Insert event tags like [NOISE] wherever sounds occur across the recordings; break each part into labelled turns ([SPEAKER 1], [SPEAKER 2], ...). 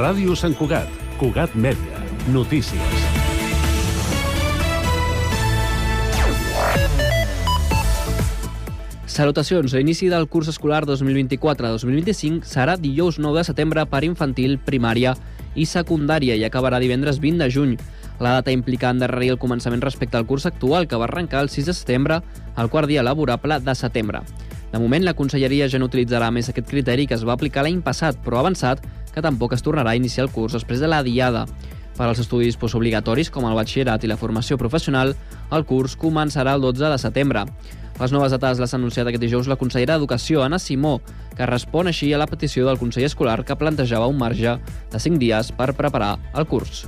[SPEAKER 1] Ràdio Sant Cugat, Cugat Mèdia, notícies.
[SPEAKER 2] Salutacions. L'inici del curs escolar 2024-2025 serà dijous 9 de setembre per infantil, primària i secundària i acabarà divendres 20 de juny. La data implica endarrerir el començament respecte al curs actual, que va arrencar el 6 de setembre, al quart dia laborable de setembre. De moment, la conselleria ja no utilitzarà més aquest criteri que es va aplicar l'any passat, però ha avançat que tampoc es tornarà a iniciar el curs després de la diada. Per als estudis postobligatoris, com el batxillerat i la formació professional, el curs començarà el 12 de setembre. Les noves dates les ha anunciat aquest dijous la consellera d'Educació, Anna Simó, que respon així a la petició del Consell Escolar que plantejava un marge de 5 dies per preparar el curs.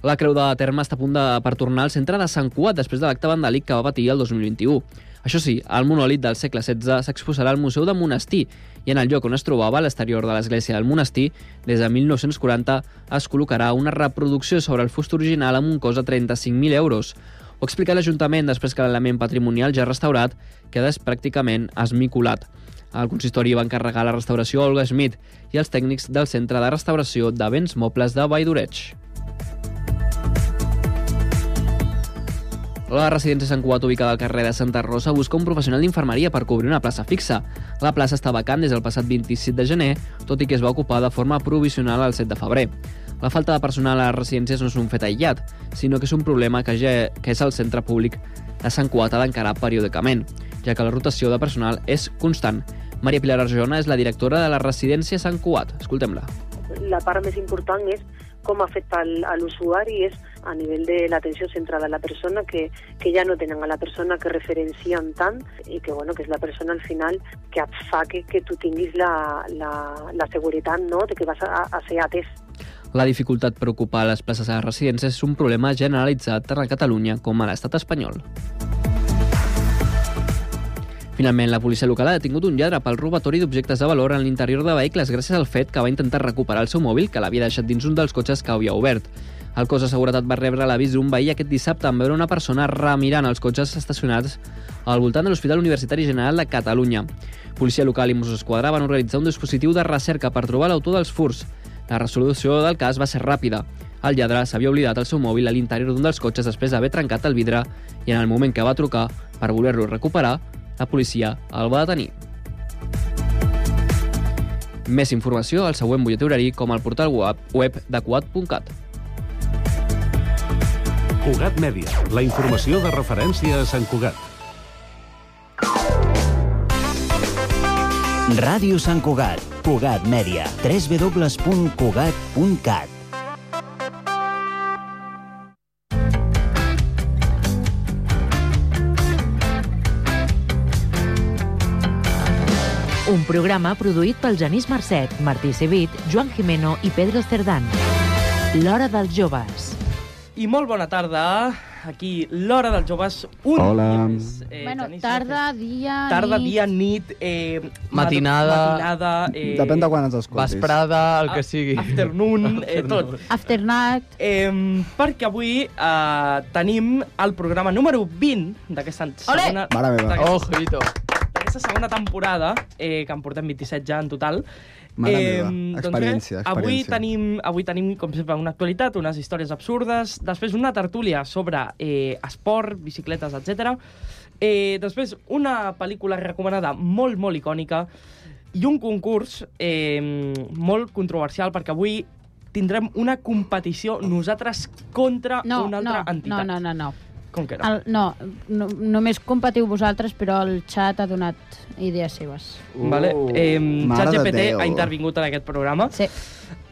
[SPEAKER 2] La Creu de Terme està a punt de, per tornar al centre de Sant Cugat després de l'acte vandàlic que va patir el 2021. Això sí, el monòlit del segle XVI s'exposarà al Museu de Monestir i en el lloc on es trobava, a l'exterior de l'església del monestir, des de 1940 es col·locarà una reproducció sobre el fust original amb un cost de 35.000 euros. Ho explica l'Ajuntament després que l'element patrimonial ja restaurat quedés pràcticament esmicolat. El consistori va encarregar la restauració a Olga Schmidt i els tècnics del Centre de Restauració de Béns Mobles de Valldoreig. La residència Sant Cugat, ubicada al carrer de Santa Rosa, busca un professional d'infermeria per cobrir una plaça fixa. La plaça està vacant des del passat 27 de gener, tot i que es va ocupar de forma provisional el 7 de febrer. La falta de personal a les residències no és un fet aïllat, sinó que és un problema que, ja, que és el centre públic de Sant Cugat ha d'encarar periòdicament, ja que la rotació de personal és constant. Maria Pilar Arjona és la directora de la residència Sant Cugat. Escoltem-la.
[SPEAKER 3] la part més important és com afecta al, a l'usuari és a nivell de l'atenció centrada en la persona que, que ja no tenen a la persona que referencien tant i que, bueno, que és la persona al final que et fa que, que tu tinguis la, la, la seguretat no? de que vas a, a ser atès.
[SPEAKER 2] La dificultat per ocupar les places a les residències és un problema generalitzat tant a Catalunya com a l'estat espanyol. Finalment, la policia local ha detingut un lladre pel robatori d'objectes de valor en l'interior de vehicles gràcies al fet que va intentar recuperar el seu mòbil que l'havia deixat dins un dels cotxes que havia obert. El cos de seguretat va rebre l'avís d'un veí aquest dissabte en veure una persona remirant els cotxes estacionats al voltant de l'Hospital Universitari General de Catalunya. Policia local i Mossos d'Esquadra van organitzar un dispositiu de recerca per trobar l'autor dels furs. La resolució del cas va ser ràpida. El lladre s'havia oblidat el seu mòbil a l'interior d'un dels cotxes després d'haver trencat el vidre i en el moment que va trucar per voler-lo recuperar, la policia el va detenir. Més informació al següent butlletí horari com al portal web, web de quad.cat.
[SPEAKER 1] Cugat Mèdia, la informació de referència a Sant Cugat.
[SPEAKER 4] Ràdio Sant Cugat, Cugat Mèdia, www.cugat.cat.
[SPEAKER 5] Un programa produït pel Genís Marcet, Martí Civit, Joan Jimeno i Pedro Cerdán. L'hora dels joves.
[SPEAKER 6] I molt bona tarda. Aquí, l'hora dels joves. Un
[SPEAKER 7] Hola.
[SPEAKER 6] dia més, Eh,
[SPEAKER 8] Bueno,
[SPEAKER 6] Genís
[SPEAKER 8] tarda,
[SPEAKER 6] López.
[SPEAKER 8] dia,
[SPEAKER 6] Tarda,
[SPEAKER 8] nit.
[SPEAKER 6] dia, nit... Eh,
[SPEAKER 9] Matinada.
[SPEAKER 6] matinada eh,
[SPEAKER 7] Depèn de quan ens escoltis.
[SPEAKER 9] Vesprada, el
[SPEAKER 6] a-
[SPEAKER 9] que sigui.
[SPEAKER 6] Afternoon, eh, tot.
[SPEAKER 8] Afternight.
[SPEAKER 6] Eh, perquè avui eh, tenim el programa número 20 d'aquesta
[SPEAKER 8] Ole!
[SPEAKER 6] segona,
[SPEAKER 7] Mare meva.
[SPEAKER 6] d'aquesta-
[SPEAKER 9] Ojito.
[SPEAKER 6] d'aquesta segona temporada, eh, que en portem 27 ja en total.
[SPEAKER 7] Mare meva.
[SPEAKER 6] doncs bé,
[SPEAKER 7] Experiència,
[SPEAKER 6] Avui
[SPEAKER 7] experiència.
[SPEAKER 6] tenim, avui tenim, com sempre, una actualitat, unes històries absurdes, després una tertúlia sobre eh, esport, bicicletes, etc. Eh, després una pel·lícula recomanada molt, molt icònica i un concurs eh, molt controversial perquè avui tindrem una competició nosaltres contra
[SPEAKER 8] No,
[SPEAKER 6] una
[SPEAKER 8] no,
[SPEAKER 6] altra entitat.
[SPEAKER 8] no, no, no, no.
[SPEAKER 6] Com que no?
[SPEAKER 8] El, no, no, només competiu vosaltres, però el xat ha donat idees seves.
[SPEAKER 6] Vale. Eh,
[SPEAKER 7] Uh, Mare de
[SPEAKER 6] ChatGPT
[SPEAKER 7] Déu.
[SPEAKER 6] ha intervingut en aquest programa.
[SPEAKER 8] Sí.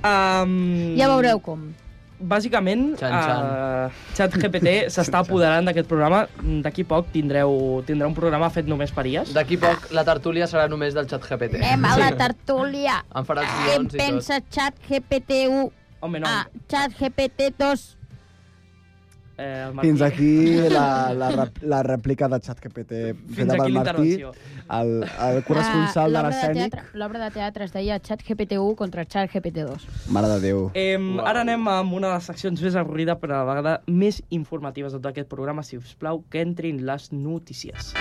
[SPEAKER 6] Um,
[SPEAKER 8] Ja veureu com.
[SPEAKER 6] Bàsicament,
[SPEAKER 9] Xan, xan.
[SPEAKER 6] eh, ChatGPT s'està apoderant d'aquest programa. D'aquí poc tindreu, tindrà un programa fet només per IAS.
[SPEAKER 9] D'aquí poc la tertúlia serà només del xat GPT.
[SPEAKER 8] Anem a la tertúlia.
[SPEAKER 9] Em farà els
[SPEAKER 8] Què en
[SPEAKER 9] guions i tot.
[SPEAKER 8] pensa xat GPT1?
[SPEAKER 6] Home, no.
[SPEAKER 8] Ah, xat GPT2.
[SPEAKER 6] Eh, el Martí.
[SPEAKER 7] Fins aquí
[SPEAKER 6] [LAUGHS]
[SPEAKER 7] la, la, rep- la rèplica de ChatGPT
[SPEAKER 6] Fins
[SPEAKER 7] feta
[SPEAKER 6] aquí
[SPEAKER 7] pel Martí,
[SPEAKER 6] l'intervenció.
[SPEAKER 7] el, el corresponsal
[SPEAKER 8] Ah,
[SPEAKER 7] de
[SPEAKER 8] l'obra
[SPEAKER 7] l'escènic.
[SPEAKER 8] teatre- L'obra de teatre es deia xat GPT1 contra xat GPT2.
[SPEAKER 7] Mare de Déu.
[SPEAKER 6] Eh, Ara anem amb una de les seccions més avorrida, però a la vegada més informatives de tot aquest programa. Si us plau, que entrin les notícies.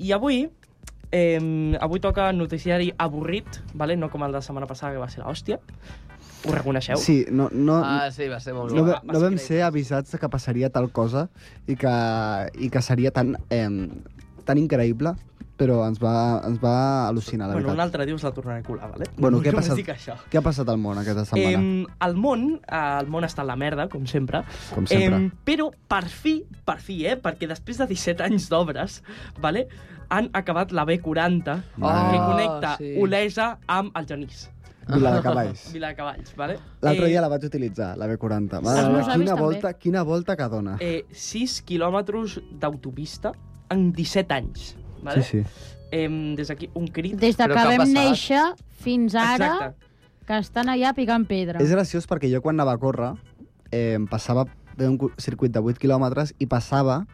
[SPEAKER 6] I avui, eh, avui toca noticiari avorrit, vale? no com el de setmana passada, que va ser l'hòstia. Ho reconeixeu?
[SPEAKER 7] Sí, no, no,
[SPEAKER 9] Ah, sí, va ser molt
[SPEAKER 7] no,
[SPEAKER 9] bo.
[SPEAKER 7] va- no vam ser avisats de que passaria tal cosa i que, i que seria tan, eh, tan increïble, però ens va, ens va al·lucinar, la
[SPEAKER 6] bueno, un
[SPEAKER 7] veritat.
[SPEAKER 6] altre dia us la tornaré a colar, vale?
[SPEAKER 7] Bueno, què ha
[SPEAKER 6] Només
[SPEAKER 7] passat?
[SPEAKER 6] Dic això.
[SPEAKER 7] Què ha passat al món aquesta setmana?
[SPEAKER 6] Em, el món, eh, el món està en la merda, com sempre.
[SPEAKER 7] Com sempre.
[SPEAKER 6] Em, però per fi, per fi, eh? Perquè després de 17 anys d'obres, vale? han acabat la B40, que
[SPEAKER 7] Mare meva.
[SPEAKER 6] connecta
[SPEAKER 9] sí.
[SPEAKER 6] Olesa amb el Genís.
[SPEAKER 7] Vila de Cavalls.
[SPEAKER 6] Viladecavalls, vale?
[SPEAKER 7] L'altre
[SPEAKER 6] Eh,
[SPEAKER 7] dia la vaig utilitzar, la B40. Mare,
[SPEAKER 8] Els
[SPEAKER 7] meva,
[SPEAKER 8] meus avis
[SPEAKER 7] quina,
[SPEAKER 8] també.
[SPEAKER 7] volta, quina volta que dona.
[SPEAKER 6] Eh, 6 quilòmetres d'autopista en 17 anys, vale?
[SPEAKER 7] Sí, sí.
[SPEAKER 6] Em, des d'aquí, un crit.
[SPEAKER 8] Des de
[SPEAKER 9] Però
[SPEAKER 8] que
[SPEAKER 9] què ha
[SPEAKER 8] vam
[SPEAKER 9] passat?
[SPEAKER 8] néixer fins ara,
[SPEAKER 6] Exacte.
[SPEAKER 8] que estan allà picant pedra.
[SPEAKER 7] És graciós perquè jo quan anava a córrer eh, em passava d'un cu- circuit de 8 quilòmetres i passava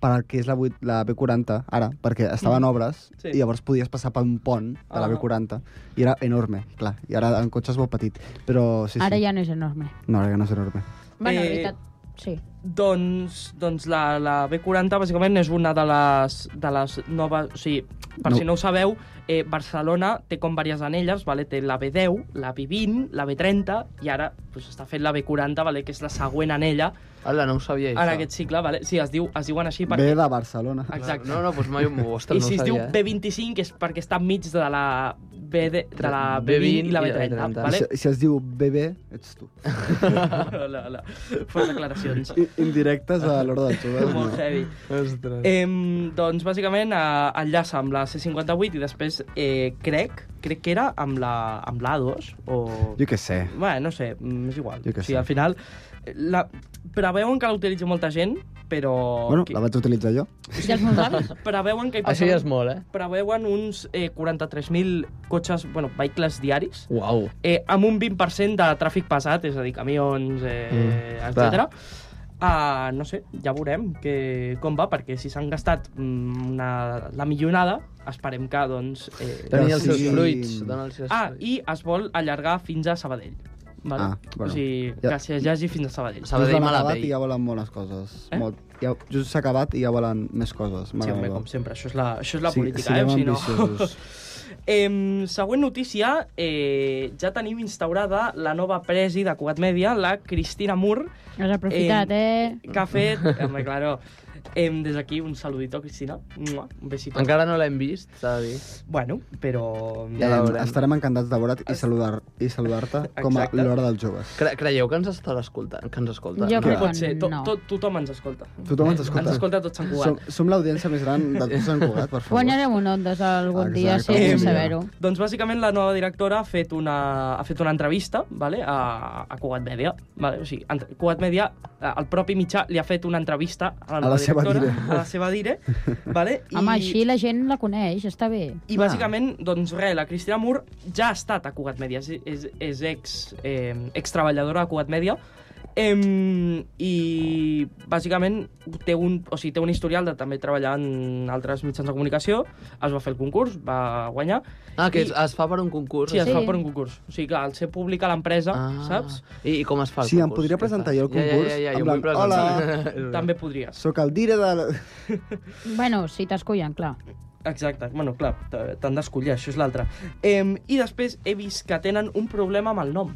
[SPEAKER 7] per al que és la, 8, la B40 ara, perquè estava en obres
[SPEAKER 6] Mm. Sí.
[SPEAKER 7] sí. i llavors podies passar per un pont de la
[SPEAKER 6] Ah.
[SPEAKER 7] B40 i era enorme, clar, i ara en cotxe és molt petit, però sí,
[SPEAKER 8] Ara
[SPEAKER 7] sí.
[SPEAKER 8] ja no és enorme.
[SPEAKER 7] No, ara ja no és enorme.
[SPEAKER 8] Bueno,
[SPEAKER 6] Eh,
[SPEAKER 8] eh... veritat, sí.
[SPEAKER 6] Doncs, doncs la, la B40 bàsicament és una de les, de les noves... O sigui, per
[SPEAKER 7] No.
[SPEAKER 6] no. si no ho sabeu, eh, Barcelona té com diverses anelles, vale? té la B10, la B20, la B30 i ara pues, està fent la B40, vale? que és la següent anella
[SPEAKER 9] Hola, no ho sabia, això.
[SPEAKER 6] en aquest cicle. Vale? Sí, es, diu, es diuen així
[SPEAKER 7] Ve
[SPEAKER 6] perquè...
[SPEAKER 7] de Barcelona.
[SPEAKER 6] Exacte.
[SPEAKER 9] No, no, doncs mai ho... Ostres,
[SPEAKER 6] I si
[SPEAKER 9] no
[SPEAKER 6] es
[SPEAKER 9] ho
[SPEAKER 6] diu
[SPEAKER 9] sabia, eh?
[SPEAKER 6] B25 és perquè està enmig de la, B de, de la B20 i la B30.
[SPEAKER 7] I
[SPEAKER 6] [LAUGHS] Vale?
[SPEAKER 7] Si, si es diu BB, ets tu.
[SPEAKER 6] la, la, fos declaracions.
[SPEAKER 7] I- Indirectes a l'hora del xou.
[SPEAKER 6] [LAUGHS] Molt heavy.
[SPEAKER 9] Ostres.
[SPEAKER 6] Eh, doncs, bàsicament, eh, enllaça amb la C58 i després eh, crec, crec que era amb la amb l'A2 o...
[SPEAKER 7] Jo què sé.
[SPEAKER 6] Bé, no sé, mm, és igual.
[SPEAKER 7] Jo
[SPEAKER 6] o
[SPEAKER 7] què
[SPEAKER 6] sigui,
[SPEAKER 7] sé.
[SPEAKER 6] al final, eh, la... preveuen que la utilitzi molta gent, però...
[SPEAKER 7] Bueno,
[SPEAKER 6] que...
[SPEAKER 7] la vaig utilitzar jo.
[SPEAKER 8] I els meus avis?
[SPEAKER 6] Preveuen que hi
[SPEAKER 9] Això
[SPEAKER 6] passen...
[SPEAKER 9] ja és molt, eh?
[SPEAKER 6] Preveuen uns eh, 43.000 cotxes, bueno, vehicles diaris,
[SPEAKER 9] Uau.
[SPEAKER 6] eh, amb un 20% de tràfic pesat, és a dir, camions, eh,
[SPEAKER 9] Mm,
[SPEAKER 6] mm, etc. Uh, no sé, ja veurem que, com va, perquè si s'han gastat mm, una, la millonada, esperem que, doncs... Eh...
[SPEAKER 9] Tenia els seus
[SPEAKER 7] sigui-
[SPEAKER 9] fruits. Dona els seus
[SPEAKER 6] Ah,
[SPEAKER 9] fruits.
[SPEAKER 6] i es vol allargar fins a Sabadell. Vale?
[SPEAKER 7] Ah, bueno.
[SPEAKER 6] O sigui,
[SPEAKER 7] Ja.
[SPEAKER 6] que s'allagi fins a Sabadell.
[SPEAKER 9] Sabadell
[SPEAKER 7] Just l'han
[SPEAKER 9] mala
[SPEAKER 7] acabat
[SPEAKER 9] pell.
[SPEAKER 7] i ja volen moltes coses.
[SPEAKER 6] Eh?
[SPEAKER 7] Molt, ja, just s'ha acabat i ja volen més coses.
[SPEAKER 6] Sí,
[SPEAKER 7] Mare
[SPEAKER 6] home,
[SPEAKER 7] meva.
[SPEAKER 6] com sempre, això és la, això és la
[SPEAKER 7] Sí,
[SPEAKER 6] política,
[SPEAKER 7] siguem
[SPEAKER 6] eh? Si no... [LAUGHS]
[SPEAKER 7] ambiciosos.
[SPEAKER 6] Em, següent notícia, eh, ja tenim instaurada la nova presi de Cugat Mèdia, la Cristina Mur,
[SPEAKER 8] Has aprofitat, eh?
[SPEAKER 6] que ha fet... Home, claro. Em, des d'aquí un saludito, Cristina. Mua, un besito.
[SPEAKER 9] Encara no l'hem vist, s'ha de dir.
[SPEAKER 6] Bueno, però...
[SPEAKER 9] Ja la
[SPEAKER 7] Eh,
[SPEAKER 9] veurem.
[SPEAKER 7] estarem encantats de veure't i saludar- i saludar-te com a
[SPEAKER 6] Exacte.
[SPEAKER 7] l'hora dels joves.
[SPEAKER 9] Cre creieu que ens estarà escoltant? Que ens Ah, escolta?
[SPEAKER 8] Jo
[SPEAKER 9] No.
[SPEAKER 8] crec
[SPEAKER 6] Pot ser, to
[SPEAKER 8] No.
[SPEAKER 6] to tothom ens escolta.
[SPEAKER 7] Tothom ens escolta.
[SPEAKER 6] Ens escolta tot Sant
[SPEAKER 7] Som,
[SPEAKER 6] Cugat.
[SPEAKER 7] som l'audiència més gran de tot Sant Cugat, per favor.
[SPEAKER 8] Guanyarem un Ondes algun dia,
[SPEAKER 7] Exacte,
[SPEAKER 8] sí,
[SPEAKER 6] algun
[SPEAKER 8] sense
[SPEAKER 6] dia.
[SPEAKER 8] saber-ho.
[SPEAKER 6] Doncs bàsicament la nova directora ha fet una, ha fet una entrevista vale, a, a Cugat Mèdia. Vale? O sigui, ent- Cugat Mèdia, eh, el propi mitjà, li ha fet una entrevista a la,
[SPEAKER 7] la
[SPEAKER 6] nova
[SPEAKER 7] seva
[SPEAKER 6] directora,
[SPEAKER 7] dire.
[SPEAKER 6] a la seva dire.
[SPEAKER 7] [LAUGHS]
[SPEAKER 6] Vale?
[SPEAKER 8] I... Home, així la gent la coneix, està bé.
[SPEAKER 6] I bàsicament, doncs res, la Cristina Mur ja ha estat a Cugat Mèdia, és, és, és ex, eh, ex treballadora de Cugat Mèdia, Em, i bàsicament té un, o sigui, té un historial de també treballar en altres mitjans de comunicació es va fer el concurs, va guanyar
[SPEAKER 9] Ah, que
[SPEAKER 6] I-
[SPEAKER 9] es, es fa per un concurs?
[SPEAKER 6] sí, es
[SPEAKER 8] Sí.
[SPEAKER 6] fa per un concurs o sigui, clar, al ser pública l'empresa,
[SPEAKER 9] Ah.
[SPEAKER 6] saps?
[SPEAKER 9] I, I com es fa el
[SPEAKER 7] Sí, em
[SPEAKER 9] concurs?
[SPEAKER 7] podria
[SPEAKER 9] Què
[SPEAKER 7] presentar
[SPEAKER 9] fas?
[SPEAKER 7] jo el concurs?
[SPEAKER 9] Ja, ja, ja, ja
[SPEAKER 7] En
[SPEAKER 9] jo vull
[SPEAKER 7] plan,
[SPEAKER 6] [LAUGHS]
[SPEAKER 9] presentar.
[SPEAKER 6] també podries
[SPEAKER 7] Soc el dire de... La...
[SPEAKER 8] Bueno, si t'escollen, clar.
[SPEAKER 6] Exacte, bueno, clar, t- t'han d'escollir, això és l'altre. Em, I després he vist que tenen un problema amb el nom,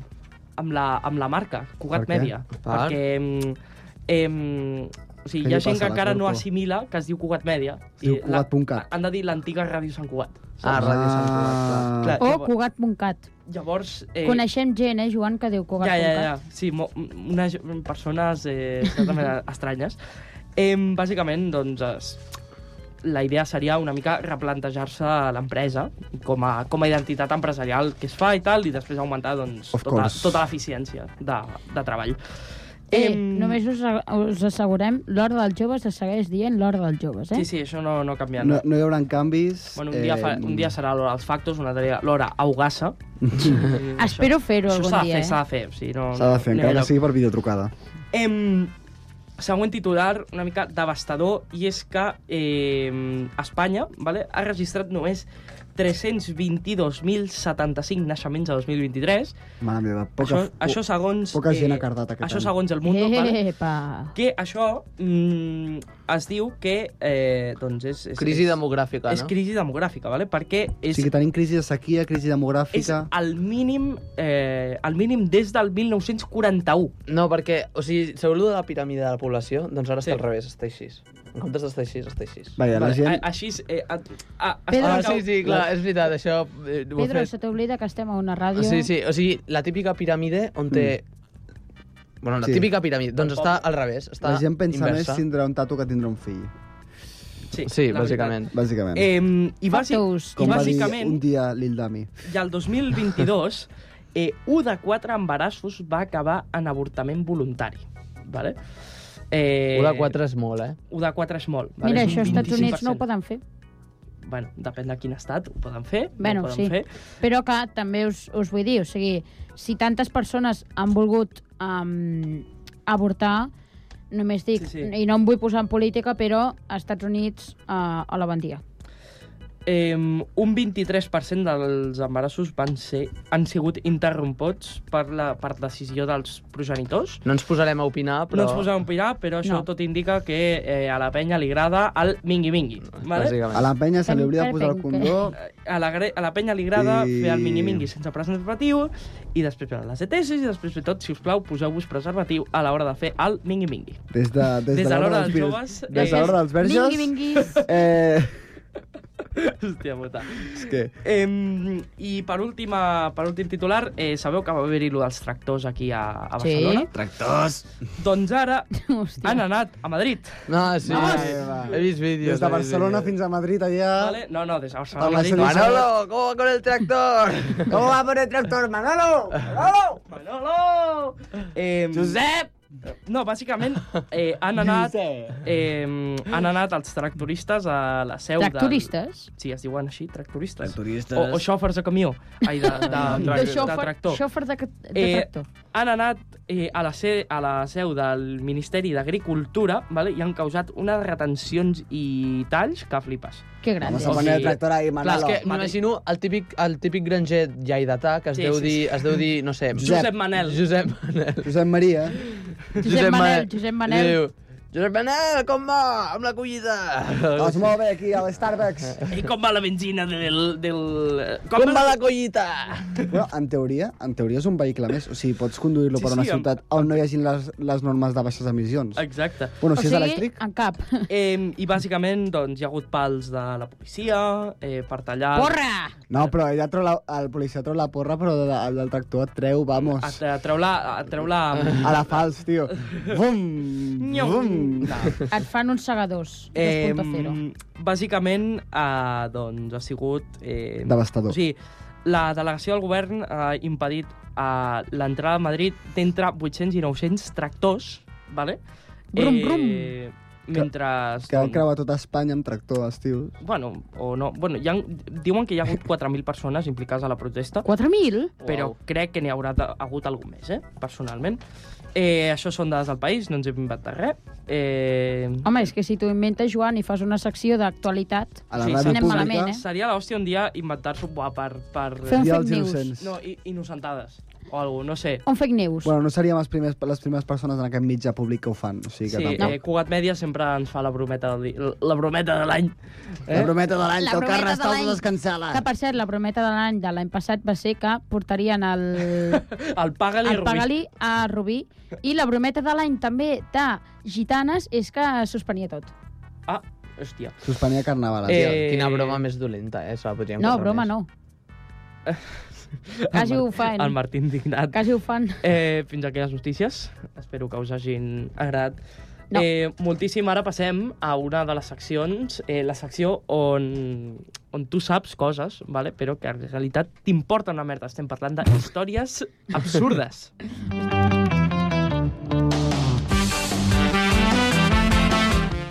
[SPEAKER 6] amb la, amb la marca, Cugat
[SPEAKER 7] Per què?
[SPEAKER 6] Mèdia.
[SPEAKER 9] Per?
[SPEAKER 6] Perquè em, em, o sigui,
[SPEAKER 7] Què
[SPEAKER 6] hi ha
[SPEAKER 7] li
[SPEAKER 6] gent que
[SPEAKER 7] passa a la
[SPEAKER 6] encara no
[SPEAKER 7] Corpo?
[SPEAKER 6] assimila que es diu Cugat Mèdia.
[SPEAKER 7] Es diu
[SPEAKER 6] I la-
[SPEAKER 7] Cugat.cat.
[SPEAKER 6] Han de dir l'antiga Ràdio Sant Cugat.
[SPEAKER 9] Ah, Ràdio Sant
[SPEAKER 7] Ah.
[SPEAKER 9] Cugat,
[SPEAKER 6] Clar,
[SPEAKER 8] O
[SPEAKER 6] llavors,
[SPEAKER 8] Cugat.cat.
[SPEAKER 6] llavors eh,
[SPEAKER 8] Eh... Coneixem gent, eh, Joan, que diu
[SPEAKER 6] ja,
[SPEAKER 8] Cugat.cat.
[SPEAKER 6] ja, ja. Sí, mo, unes persones eh,
[SPEAKER 8] [LAUGHS]
[SPEAKER 6] certament estranyes. Em, bàsicament, doncs, es, la idea seria una mica replantejar-se l'empresa com, a, com a identitat empresarial que es fa i tal, i després augmentar doncs,
[SPEAKER 7] Of
[SPEAKER 6] tota,
[SPEAKER 7] course.
[SPEAKER 6] tota l'eficiència de, de treball.
[SPEAKER 8] Eh,
[SPEAKER 6] Em,
[SPEAKER 8] només us, us assegurem, l'hora dels joves es segueix dient l'hora dels joves, eh?
[SPEAKER 6] Sí, sí, això no, no ha canviat.
[SPEAKER 7] No, no hi haurà canvis. eh,
[SPEAKER 6] Bueno, un, dia fa, un dia serà l'hora als factos, un altre dia l'hora a
[SPEAKER 7] [LAUGHS]
[SPEAKER 6] Ugassa.
[SPEAKER 8] Espero fer-ho
[SPEAKER 6] Això
[SPEAKER 8] algun
[SPEAKER 6] s'ha de
[SPEAKER 8] dia,
[SPEAKER 6] fer,
[SPEAKER 8] eh?
[SPEAKER 6] s'ha de fer. O sigui, no,
[SPEAKER 7] S'ha de
[SPEAKER 6] no hi
[SPEAKER 7] fer,
[SPEAKER 6] ha
[SPEAKER 7] encara
[SPEAKER 6] lloc.
[SPEAKER 7] que sigui per videotrucada.
[SPEAKER 6] Em, següent titular, una mica devastador, i és que eh, Espanya vale, ha registrat només 322.075 naixements a 2023.
[SPEAKER 7] Mare meva,
[SPEAKER 6] Poca,
[SPEAKER 7] poca,
[SPEAKER 6] això, això segons... eh,
[SPEAKER 7] poca gent ha cardat aquest
[SPEAKER 6] Això
[SPEAKER 7] any.
[SPEAKER 6] segons el Mundo,
[SPEAKER 8] Eh.
[SPEAKER 6] vale?
[SPEAKER 8] Epa.
[SPEAKER 6] que això mm, es diu que eh, doncs és, és,
[SPEAKER 9] Crisi
[SPEAKER 6] és,
[SPEAKER 9] demogràfica,
[SPEAKER 6] és
[SPEAKER 9] no?
[SPEAKER 6] crisi demogràfica, vale? perquè
[SPEAKER 7] O
[SPEAKER 6] és,
[SPEAKER 7] sigui, tenim crisi de sequia, crisi
[SPEAKER 6] és
[SPEAKER 7] demogràfica...
[SPEAKER 6] el, mínim, eh, el mínim des del 1941.
[SPEAKER 9] No, perquè, o sigui, sabeu lo de la piràmide de la població? Doncs ara
[SPEAKER 6] Sí.
[SPEAKER 9] està al revés, està així. En comptes d'estar així, està així.
[SPEAKER 7] Vaja, la gent...
[SPEAKER 6] A, així... és, Eh, a, a, a,
[SPEAKER 8] Pedro,
[SPEAKER 9] Ah,
[SPEAKER 6] es-
[SPEAKER 9] sí, sí, clar, és veritat, això... Eh, ho he
[SPEAKER 8] Pedro,
[SPEAKER 9] fet. Ah,
[SPEAKER 8] se t'oblida que estem a una ràdio.
[SPEAKER 9] Sí, sí, o sigui, la típica piràmide on té... Bueno, la
[SPEAKER 7] Mm. Sí.
[SPEAKER 9] típica piràmide, doncs
[SPEAKER 6] El
[SPEAKER 9] està
[SPEAKER 6] poble.
[SPEAKER 9] al revés, està
[SPEAKER 7] La gent pensa
[SPEAKER 9] inversa.
[SPEAKER 7] més tindrà un tatu que tindrà un fill,
[SPEAKER 6] Sí,
[SPEAKER 9] Sí,
[SPEAKER 6] la
[SPEAKER 9] bàsicament.
[SPEAKER 6] veritat.
[SPEAKER 7] bàsicament.
[SPEAKER 6] Eh, I, bàsic,
[SPEAKER 8] Factos.
[SPEAKER 6] i
[SPEAKER 7] Com va dir
[SPEAKER 6] bàsicament,
[SPEAKER 7] un dia Lil Dami.
[SPEAKER 6] i el 2022, eh, un de quatre embarassos va acabar en avortament voluntari. Vale? Eh,
[SPEAKER 9] Un de quatre és molt, eh?
[SPEAKER 6] 1 de 4 és molt. Vale?
[SPEAKER 8] Mira,
[SPEAKER 6] és un
[SPEAKER 8] això als Estats Units no ho
[SPEAKER 6] 25%.
[SPEAKER 8] poden fer.
[SPEAKER 6] Bueno, depèn de quin estat, ho poden fer.
[SPEAKER 8] Bueno,
[SPEAKER 6] no ho poden
[SPEAKER 8] sí.
[SPEAKER 6] Fer.
[SPEAKER 8] Però que també us, us vull dir, o sigui, si tantes persones han volgut um, avortar, només
[SPEAKER 6] Sí,
[SPEAKER 8] dic,
[SPEAKER 6] sí.
[SPEAKER 8] i no em vull posar en política, però als Estats Units uh, a la bandia.
[SPEAKER 6] Eh, un 23% dels embarassos van ser, han sigut interromputs per, la, per decisió dels progenitors.
[SPEAKER 9] No ens posarem a opinar,
[SPEAKER 6] Però...
[SPEAKER 9] però...
[SPEAKER 6] No ens posem a opinar, però això
[SPEAKER 8] No.
[SPEAKER 6] tot indica que eh, a la penya li agrada el mingui-mingui. Vale?
[SPEAKER 9] Bàsicament.
[SPEAKER 7] A la penya se li hauria de posar el
[SPEAKER 8] Penca, penca.
[SPEAKER 7] condó...
[SPEAKER 6] a la, gre- a la penya li agrada
[SPEAKER 7] I-
[SPEAKER 6] I... fer el mini-mingui sense preservatiu i després veure les ETS i després fer tot, si us plau, poseu-vos preservatiu a l'hora de fer el mini-mingui.
[SPEAKER 7] Des de,
[SPEAKER 6] Des
[SPEAKER 7] des de
[SPEAKER 6] de l'hora
[SPEAKER 7] dels
[SPEAKER 6] dels
[SPEAKER 7] vir-
[SPEAKER 6] joves,
[SPEAKER 7] Des de
[SPEAKER 6] eh,
[SPEAKER 7] l'hora dels verges...
[SPEAKER 8] Vingui, vinguis.
[SPEAKER 7] Eh,
[SPEAKER 6] [LAUGHS] Hòstia puta.
[SPEAKER 7] és que...
[SPEAKER 6] Em, I per, última, per últim titular, eh, sabeu que va haver-hi lo dels tractors aquí a, a
[SPEAKER 8] Sí.
[SPEAKER 6] Barcelona? Doncs ara
[SPEAKER 8] Hòstia.
[SPEAKER 6] han anat a Madrid.
[SPEAKER 9] No, sí,
[SPEAKER 6] Ah,
[SPEAKER 7] Vamos.
[SPEAKER 9] sí. He vist vídeos.
[SPEAKER 7] Des de Barcelona fins a Madrid, allà...
[SPEAKER 6] Vale? No, no, des de Barcelona
[SPEAKER 7] Per
[SPEAKER 6] a
[SPEAKER 7] la
[SPEAKER 6] Madrid.
[SPEAKER 7] Sede-
[SPEAKER 9] Manolo, ¿cómo va con el tractor?
[SPEAKER 7] Com va per el tractor, Manolo? Manolo!
[SPEAKER 6] Manolo! Eh, Josep! No, bàsicament eh, han anat... Eh, han anat els tractoristes a la seu
[SPEAKER 8] Tractoristes?
[SPEAKER 6] Del... Sí, es diuen així, tractoristes.
[SPEAKER 1] Tractoristes.
[SPEAKER 6] O, o xòfers de camió. Ai, de, de, de, de, de tractor.
[SPEAKER 8] Xòfer de, ca- de
[SPEAKER 6] Eh,
[SPEAKER 8] tractor.
[SPEAKER 6] Han anat eh, a, la se, a la seu del Ministeri d'Agricultura vale? i han causat unes retencions i talls que flipes.
[SPEAKER 8] Que gran.
[SPEAKER 7] Vamos
[SPEAKER 6] O
[SPEAKER 7] a poner el
[SPEAKER 6] sigui,
[SPEAKER 7] tractor ahí,
[SPEAKER 9] Clar, és
[SPEAKER 7] Manolo.
[SPEAKER 9] que m'imagino el típic, el típic granger lleidatà que es,
[SPEAKER 6] Sí,
[SPEAKER 9] deu
[SPEAKER 6] sí, sí.
[SPEAKER 9] dir, es deu dir, no sé...
[SPEAKER 6] Josep, Manel.
[SPEAKER 9] Josep Manel.
[SPEAKER 7] Josep Maria.
[SPEAKER 8] Josep Manel, Josep Manel.
[SPEAKER 9] Diu, Josep Manel, com va? Amb la collita.
[SPEAKER 7] Es mou bé aquí, a l'Starbucks.
[SPEAKER 6] I eh, com va la benzina del... del com,
[SPEAKER 9] Com va la collita?
[SPEAKER 7] Bueno, en teoria, en teoria és un vehicle més. O sigui, pots conduir-lo
[SPEAKER 6] Sí,
[SPEAKER 7] per una
[SPEAKER 6] sí, em-
[SPEAKER 7] ciutat on no hi hagin les, les normes de baixes emissions.
[SPEAKER 6] Exacte.
[SPEAKER 7] Bueno,
[SPEAKER 8] o
[SPEAKER 7] si és
[SPEAKER 8] sigui,
[SPEAKER 7] elèctric...
[SPEAKER 8] en cap.
[SPEAKER 6] Eh, I bàsicament doncs, hi ha hagut pals de la policia eh, per tallar...
[SPEAKER 8] Porra!
[SPEAKER 7] No, però ella treu la, el policia treu la porra, però de, el del tractor et treu,
[SPEAKER 6] A,
[SPEAKER 7] vamos.
[SPEAKER 6] a treu la... A treu la...
[SPEAKER 7] A la fals, tio. Bum! Bum!
[SPEAKER 6] No.
[SPEAKER 8] Et fan uns segadors.
[SPEAKER 6] Eh,
[SPEAKER 8] 2.0.
[SPEAKER 6] bàsicament, eh, doncs, ha sigut... Eh,
[SPEAKER 7] Devastador.
[SPEAKER 6] O sigui, la delegació del govern ha impedit eh, l'entrada a Madrid d'entre 800 i 900 tractors, vale? Eh,
[SPEAKER 8] Brum, brum.
[SPEAKER 6] Mentre...
[SPEAKER 7] Que van creuar tota Espanya amb tractor, els tios.
[SPEAKER 6] Bueno, o no. Bueno, hi ha, diuen que hi ha hagut 4.000 persones implicades a la protesta.
[SPEAKER 8] 4.000?
[SPEAKER 6] però crec que n'hi haurà de, hagut algun més, eh? personalment. Eh, això són dades del país, no ens hem inventat res. Eh,
[SPEAKER 8] Home, és que si t'ho inventes, Joan, i fas una secció d'actualitat...
[SPEAKER 7] A la
[SPEAKER 6] Sí,
[SPEAKER 7] ràdio
[SPEAKER 8] anem
[SPEAKER 7] pública...
[SPEAKER 8] malament, eh?
[SPEAKER 6] seria l'hòstia un dia inventar-s'ho buah, per... per
[SPEAKER 8] Fer un
[SPEAKER 7] Dia
[SPEAKER 8] fake
[SPEAKER 7] dels
[SPEAKER 8] news.
[SPEAKER 7] innocents.
[SPEAKER 6] no, i, innocentades o alguna no sé.
[SPEAKER 8] Un fake news.
[SPEAKER 7] Bueno, no seríem els primers, les primeres persones en aquest mitjà públic que ho fan, o
[SPEAKER 6] Sí,
[SPEAKER 7] sigui que sí,
[SPEAKER 6] eh,
[SPEAKER 7] tampoc.
[SPEAKER 6] Cugat Mèdia sempre ens fa la brometa, del di- la brometa de l'any.
[SPEAKER 7] Eh? La brometa de l'any,
[SPEAKER 8] La
[SPEAKER 7] que el
[SPEAKER 8] brometa de l'any.
[SPEAKER 7] Carrascaldo es cancela.
[SPEAKER 8] Que, per cert, la prometa de l'any de l'any passat va ser que portarien el,
[SPEAKER 6] El Pagali
[SPEAKER 8] el Pagali a Rubí i la brometa de l'any també de Gitanes és que suspenia tot.
[SPEAKER 6] Rubí. Ah, hòstia.
[SPEAKER 7] Suspenia Carnaval.
[SPEAKER 9] Tio,
[SPEAKER 7] Eh...
[SPEAKER 6] Eh,
[SPEAKER 9] Quina broma més dolenta, eh? Se la podríem
[SPEAKER 8] No,
[SPEAKER 9] posar
[SPEAKER 8] broma
[SPEAKER 9] més.
[SPEAKER 8] no. Quasi ho eh, fan.
[SPEAKER 6] El Martí indignat.
[SPEAKER 8] Quasi ho fan.
[SPEAKER 6] Eh, fins aquí les notícies. Espero que us hagin agradat.
[SPEAKER 8] No.
[SPEAKER 6] Eh, moltíssim. Ara passem a una de les seccions, eh, la secció on, on tu saps coses, vale? però que en realitat t'importa una merda. Estem parlant de històries absurdes.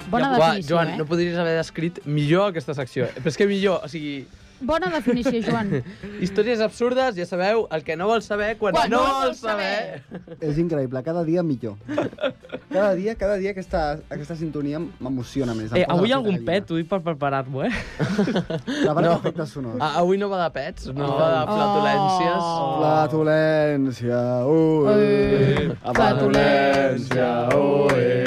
[SPEAKER 8] Bona
[SPEAKER 9] Uah,
[SPEAKER 8] definició,
[SPEAKER 9] Joan,
[SPEAKER 8] eh?
[SPEAKER 9] no podries haver descrit millor aquesta secció. Però és que millor, o sigui,
[SPEAKER 8] Bona definició, Joan.
[SPEAKER 9] històries absurdes, ja sabeu, el que no vols saber quan,
[SPEAKER 8] Quan
[SPEAKER 9] no
[SPEAKER 8] no
[SPEAKER 9] vols
[SPEAKER 8] vols saber.
[SPEAKER 9] saber.
[SPEAKER 7] És increïble, cada dia millor. Cada dia, cada dia aquesta, aquesta sintonia m'emociona més. Em
[SPEAKER 6] Eh,
[SPEAKER 7] posa
[SPEAKER 6] avui
[SPEAKER 7] la pell
[SPEAKER 6] algun
[SPEAKER 7] de
[SPEAKER 6] pet, t'ho dic per preparar-m'ho, eh? [LAUGHS]
[SPEAKER 7] gallina. La part
[SPEAKER 9] No.
[SPEAKER 7] d'efectes sonors.
[SPEAKER 9] A, Ah, avui no va de pets, no
[SPEAKER 6] Oh.
[SPEAKER 9] va de flatulències.
[SPEAKER 6] Oh.
[SPEAKER 7] Flatulència, ui.
[SPEAKER 8] Ui,
[SPEAKER 7] La
[SPEAKER 8] flatulència, ue.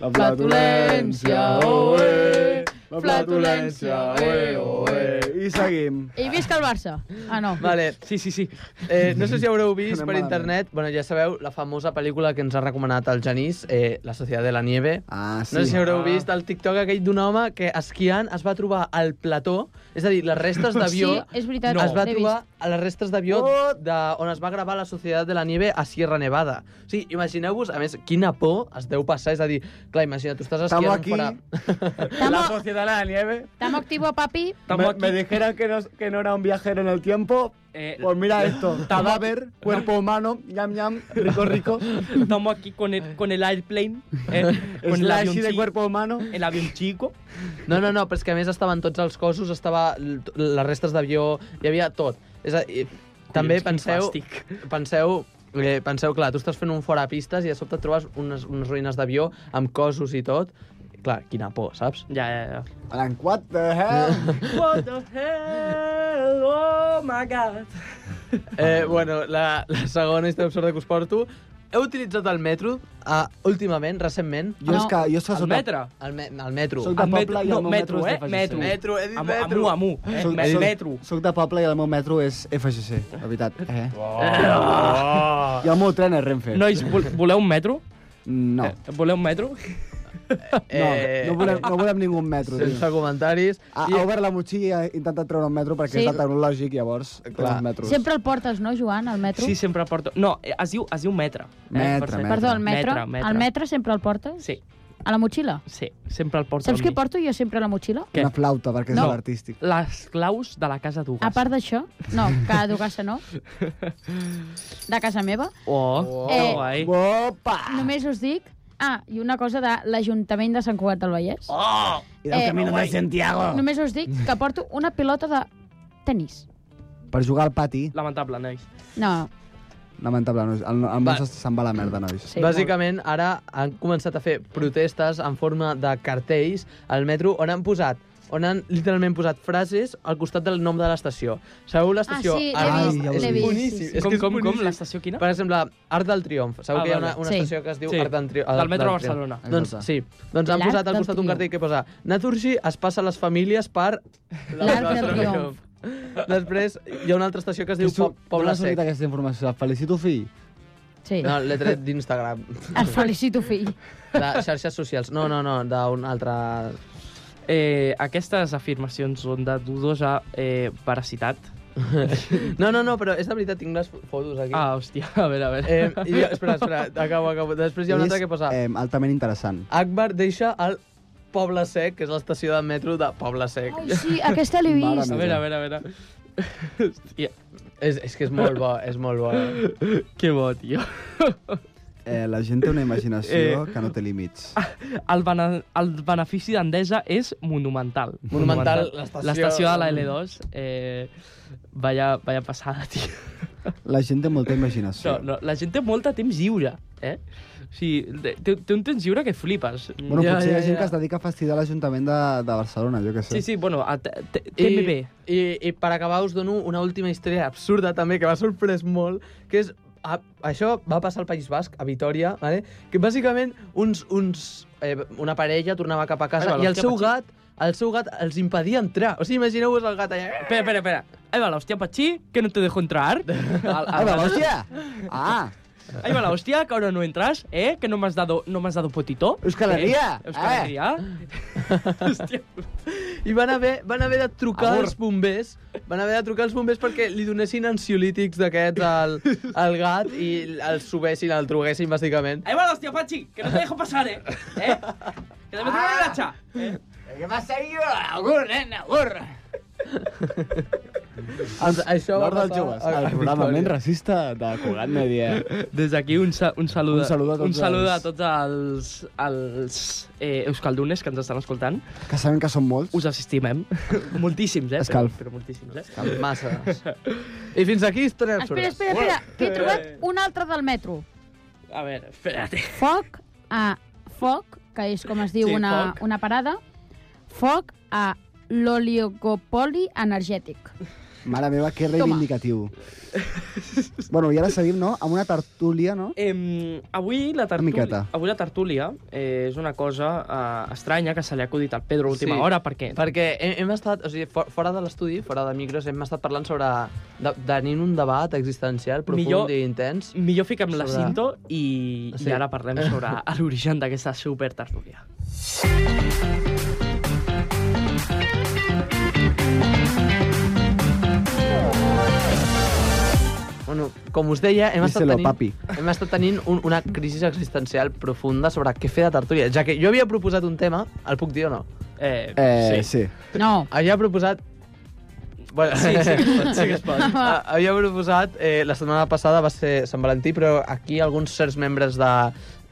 [SPEAKER 7] La
[SPEAKER 8] Flatulència, ue.
[SPEAKER 7] La
[SPEAKER 8] Flatulència, ue, ue.
[SPEAKER 7] I seguim.
[SPEAKER 8] I visca el Barça. Ah, no.
[SPEAKER 9] Vale,
[SPEAKER 6] Sí, sí, sí.
[SPEAKER 9] eh, no sé si haureu vist
[SPEAKER 7] Anem
[SPEAKER 9] per internet, bueno, ja sabeu, la famosa pel·lícula que ens ha recomanat el Genís, eh, La Societat de la Nieve.
[SPEAKER 7] Ah, sí.
[SPEAKER 9] No sé si haureu
[SPEAKER 6] Ah.
[SPEAKER 9] vist el TikTok aquell d'un home que esquiant es va trobar al plató, és a dir, les restes
[SPEAKER 8] [LAUGHS]
[SPEAKER 9] d'avió...
[SPEAKER 8] Sí, és veritat,
[SPEAKER 9] No, es va
[SPEAKER 8] l'he
[SPEAKER 9] trobar a les restes d'avió de- on es va gravar la Societat de la Nieve a Sierra Nevada. O sigui, imagineu-vos, a més, quina por es deu passar. És a dir, clar, imagina, tu estàs
[SPEAKER 7] Estamos
[SPEAKER 9] esquiant
[SPEAKER 7] aquí.
[SPEAKER 9] fora...
[SPEAKER 8] Estamos,
[SPEAKER 6] sociedad de la nieve.
[SPEAKER 8] estamos activo, papi.
[SPEAKER 6] Estamos aquí.
[SPEAKER 7] dijeron que no, que no era un viajero en el tiempo. Pues
[SPEAKER 6] Eh, [LAUGHS]
[SPEAKER 7] mira esto. Cadáver, cuerpo humano, ñam ñam, rico
[SPEAKER 6] [LAUGHS]
[SPEAKER 7] rico.
[SPEAKER 6] estamos aquí con el, con el airplane. eh, con el avión,
[SPEAKER 7] Slashy de cuerpo humano.
[SPEAKER 6] el avión chico.
[SPEAKER 9] No, no, no, però és que a més estaven tots els cossos, estava l- t- les restes d'avió, hi havia tot. És a, i, també
[SPEAKER 6] quin
[SPEAKER 9] penseu,
[SPEAKER 6] fàstic.
[SPEAKER 9] penseu, eh, penseu, clar, tu estàs fent un fora pistes i de sobte et trobes unes, unes ruïnes d'avió amb cossos i tot. Clar, quina por, saps?
[SPEAKER 6] Ja, ja, ja.
[SPEAKER 7] Alan, what the
[SPEAKER 6] [LAUGHS]
[SPEAKER 7] hell?
[SPEAKER 6] What the hell? Oh my god.
[SPEAKER 9] Eh, bueno, la, la segona història absurda que us porto. He utilitzat el metro uh, últimament, recentment.
[SPEAKER 7] Jo és que, jo és que
[SPEAKER 6] El
[SPEAKER 7] soc de,
[SPEAKER 6] metre.
[SPEAKER 9] El, me el metro.
[SPEAKER 7] soc de
[SPEAKER 6] El metro-
[SPEAKER 7] poble i
[SPEAKER 6] no,
[SPEAKER 7] el meu
[SPEAKER 6] metro,
[SPEAKER 7] metro, és
[SPEAKER 6] eh?
[SPEAKER 7] FGC.
[SPEAKER 6] Metro.
[SPEAKER 9] metro, he dit
[SPEAKER 6] Amu, amu, amu. Eh?
[SPEAKER 7] Soc,
[SPEAKER 6] Me-
[SPEAKER 7] soc-
[SPEAKER 6] metro.
[SPEAKER 7] Soc de poble i el meu metro és FGC, la veritat.
[SPEAKER 6] [LAUGHS]
[SPEAKER 7] Eh? I el meu tren és Renfe.
[SPEAKER 6] Nois, vol- voleu un metro?
[SPEAKER 7] No.
[SPEAKER 6] Eh, voleu un metro?
[SPEAKER 7] No, no, volem, no volem ningú un metro. tio.
[SPEAKER 9] Eh,
[SPEAKER 7] Ah,
[SPEAKER 9] Sense comentaris.
[SPEAKER 7] Ha, ha obert la motxilla i ha intentat treure un metro perquè
[SPEAKER 8] Sí.
[SPEAKER 7] és de tecnològic, llavors,
[SPEAKER 9] Clar.
[SPEAKER 7] clar, metros.
[SPEAKER 8] Sempre el portes, no, Joan, al metro?
[SPEAKER 6] Sí, sempre porto... No, eh, es diu, es diu metre. eh,
[SPEAKER 7] Metre,
[SPEAKER 6] per cert.
[SPEAKER 7] metre.
[SPEAKER 8] Perdó, el metro.
[SPEAKER 6] Metre, metre.
[SPEAKER 8] El metre sempre el portes?
[SPEAKER 6] Sí,
[SPEAKER 8] A la motxilla?
[SPEAKER 6] sí, sempre el porto
[SPEAKER 8] Saps
[SPEAKER 6] amb
[SPEAKER 8] què
[SPEAKER 6] mi.
[SPEAKER 8] porto jo sempre a la motxilla?
[SPEAKER 6] Què?
[SPEAKER 7] Una flauta, perquè és
[SPEAKER 6] No.
[SPEAKER 7] no. artístic.
[SPEAKER 6] Les claus de la casa d'Ugas.
[SPEAKER 8] A part d'això, no, que de casa no, de casa meva,
[SPEAKER 6] Oh,
[SPEAKER 8] Eh,
[SPEAKER 6] que guai.
[SPEAKER 7] Opa!
[SPEAKER 8] només us dic... Ah, i una cosa de l'Ajuntament de Sant Cugat del Vallès.
[SPEAKER 6] Oh!
[SPEAKER 7] I del
[SPEAKER 8] Eh,
[SPEAKER 7] camí de Santiago.
[SPEAKER 8] Només us dic que porto una pilota de tennis.
[SPEAKER 7] Per jugar al pati,
[SPEAKER 6] Lamentable, nois.
[SPEAKER 8] No,
[SPEAKER 7] lamentable, nois. El, el
[SPEAKER 9] Va.
[SPEAKER 7] món se- se'n va a la merda, nois.
[SPEAKER 8] sí,
[SPEAKER 9] Bàsicament, ara han començat a fer protestes en forma de cartells al metro on han posat on han literalment posat frases al costat del nom de l'estació. Sabeu l'estació?
[SPEAKER 8] Ah, sí, l'he
[SPEAKER 9] Arc-
[SPEAKER 7] vist,
[SPEAKER 9] és
[SPEAKER 7] l'he vist,
[SPEAKER 9] boníssim,
[SPEAKER 8] sí, sí.
[SPEAKER 9] És
[SPEAKER 6] com,
[SPEAKER 9] que és
[SPEAKER 6] com, com,
[SPEAKER 9] boníssim.
[SPEAKER 6] l'estació quina?
[SPEAKER 9] Per exemple, Arc del Triomf. Sabeu
[SPEAKER 6] Ah,
[SPEAKER 9] que hi ha una,
[SPEAKER 6] vale.
[SPEAKER 9] una
[SPEAKER 8] Sí.
[SPEAKER 9] estació que es diu
[SPEAKER 6] Sí.
[SPEAKER 9] Arc del Triomf.
[SPEAKER 6] Del metro Barcelona.
[SPEAKER 9] Doncs
[SPEAKER 7] Exacte.
[SPEAKER 9] sí. Doncs han
[SPEAKER 8] L'Arc
[SPEAKER 9] posat al
[SPEAKER 8] del
[SPEAKER 9] costat un
[SPEAKER 8] Triomf.
[SPEAKER 9] cartell que posa Naturgy es passa les famílies per...
[SPEAKER 8] L'Arc del Triomf.
[SPEAKER 9] Després hi ha una altra estació que es diu
[SPEAKER 7] Tu,
[SPEAKER 9] Po- Poble
[SPEAKER 7] d'on has sortit
[SPEAKER 9] Sec.
[SPEAKER 7] aquesta informació? Et felicito, fill.
[SPEAKER 8] sí.
[SPEAKER 9] No, l'he tret d'Instagram.
[SPEAKER 8] Et felicito, fill.
[SPEAKER 9] De xarxes socials. No, no, no, d'un altre...
[SPEAKER 6] Eh, aquestes afirmacions són de dudosa eh, veracitat.
[SPEAKER 9] No, no, no, però és de veritat, tinc les fotos aquí.
[SPEAKER 6] Ah, hòstia, a veure, a veure.
[SPEAKER 9] Eh, i jo, espera, espera, acabo, acabo. Després hi ha una altra que posa...
[SPEAKER 7] Eh, altament interessant.
[SPEAKER 9] Akbar deixa el Poble Sec, que és l'estació de metro de Poble Sec.
[SPEAKER 8] Ai, sí, aquesta l'he
[SPEAKER 7] Mare
[SPEAKER 8] vist.
[SPEAKER 6] a veure, a veure, a veure. Hòstia,
[SPEAKER 9] És, és que és molt bo, és molt bo.
[SPEAKER 6] que bo, tio.
[SPEAKER 7] Eh, la gent té una imaginació
[SPEAKER 9] Eh.
[SPEAKER 7] que no té límits.
[SPEAKER 6] El, bene el benefici d'Endesa és monumental.
[SPEAKER 9] Monumental, l'estació-
[SPEAKER 6] L'estació de la L2. Eh, vaya, vaya passada, tio.
[SPEAKER 7] La gent té molta imaginació.
[SPEAKER 6] No, no, la gent té molt de temps lliure, eh? O sigui, té, té un temps llibre que flipes.
[SPEAKER 7] Bueno,
[SPEAKER 9] Ja,
[SPEAKER 7] potser hi
[SPEAKER 9] ja,
[SPEAKER 7] ha gent
[SPEAKER 9] ja.
[SPEAKER 7] que es dedica a fastidiar l'Ajuntament de, de Barcelona, jo què sé.
[SPEAKER 6] Sí, sí, bueno, a, t- t- TMB.
[SPEAKER 9] I, I per acabar us dono una última història absurda també, que m'ha sorprès molt, que és... A, això va passar al País Basc, a Vitoria, vale? que bàsicament uns, uns, eh, una parella tornava cap a casa
[SPEAKER 6] Ai, va,
[SPEAKER 9] i el
[SPEAKER 6] l'hòstia,
[SPEAKER 9] seu
[SPEAKER 6] Patxi.
[SPEAKER 9] gat el seu gat els impedia entrar. O sigui, imagineu-vos el gat allà...
[SPEAKER 6] Espera, espera, espera. Ahí va la hostia, Pachi, que no te dejo entrar. Al-
[SPEAKER 7] Ah,
[SPEAKER 6] al-
[SPEAKER 7] va, hòstia! Ah!
[SPEAKER 6] Ahí va la hostia, que ahora no entras, ¿eh? Que no me has dado, no me has dado potito.
[SPEAKER 7] Euskal Herria,
[SPEAKER 6] Eh, Euskal
[SPEAKER 7] eh.
[SPEAKER 6] Herria. Hòstia.
[SPEAKER 9] I van haver, van haver de trucar
[SPEAKER 6] Amor.
[SPEAKER 9] als bombers, van haver de trucar als bombers perquè li donessin ansiolítics d'aquests al, al gat i el subessin, el truguessin, bàsicament.
[SPEAKER 6] Ahí va la hostia, Pachi, que no te dejo pasar, [LAUGHS] ¿eh? ¿Eh? Que te meto una gacha. ¿eh?
[SPEAKER 7] Què passa jo? Agur, nena, agur!
[SPEAKER 9] Doncs això va
[SPEAKER 7] L'hora dels
[SPEAKER 9] passar
[SPEAKER 7] joves,
[SPEAKER 9] a-
[SPEAKER 7] el
[SPEAKER 9] a
[SPEAKER 7] programa
[SPEAKER 9] Victòria.
[SPEAKER 7] menys racista de Cugat Media.
[SPEAKER 6] Des d'aquí un, sa un saludo,
[SPEAKER 7] Un saludo a tots
[SPEAKER 6] un saludo
[SPEAKER 7] els-
[SPEAKER 6] a tots els, els eh, euskaldunes que ens estan escoltant.
[SPEAKER 7] Que sabem que són molts.
[SPEAKER 6] Us estimem. [LAUGHS] moltíssims, eh?
[SPEAKER 7] Escalf.
[SPEAKER 6] Però, però moltíssims, eh?
[SPEAKER 9] Amb masses. doncs. I fins aquí història absurda.
[SPEAKER 8] Espera, espera, espera, que he trobat un altre del metro.
[SPEAKER 6] A veure, espera't.
[SPEAKER 8] Foc a Foc, que és com es diu
[SPEAKER 9] Sí,
[SPEAKER 8] una,
[SPEAKER 9] Foc.
[SPEAKER 8] una parada, Foc a l'oligopoli energètic.
[SPEAKER 7] Mare meva, que reivindicatiu. bueno, i ara seguim, no? Amb una tertúlia, no?
[SPEAKER 6] Eh, avui la tertúlia,
[SPEAKER 7] miqueta.
[SPEAKER 6] avui la tertúlia eh, és una cosa eh, estranya que se li ha acudit al Pedro a última
[SPEAKER 9] Sí.
[SPEAKER 6] sí. hora perquè
[SPEAKER 9] Perquè hem, hem estat, o sigui, for, fora de l'estudi, fora de micros, hem estat parlant sobre... de- tenint un debat existencial profund
[SPEAKER 6] Millor-
[SPEAKER 9] i intens.
[SPEAKER 6] millor fiquem la
[SPEAKER 9] Sobre-
[SPEAKER 6] cinto i, sí.
[SPEAKER 9] Sí.
[SPEAKER 6] i ara parlem
[SPEAKER 7] [LAUGHS]
[SPEAKER 6] sobre l'origen d'aquesta super tertúlia.
[SPEAKER 9] Bueno, com us deia, hem estat
[SPEAKER 7] Díselo,
[SPEAKER 9] tenint,
[SPEAKER 7] papi.
[SPEAKER 9] hem estat tenint un, una crisi existencial profunda sobre què fer de tertúlia, ja que jo havia proposat un tema, el puc dir o no?
[SPEAKER 6] Eh,
[SPEAKER 7] Eh,
[SPEAKER 6] sí.
[SPEAKER 7] sí.
[SPEAKER 8] No,
[SPEAKER 9] Havia proposat... Bueno,
[SPEAKER 6] Sí, sí que es pot, sí que es pot.
[SPEAKER 9] [LAUGHS] Ah, havia proposat, eh, la setmana passada va ser Sant Valentí, però aquí alguns certs membres de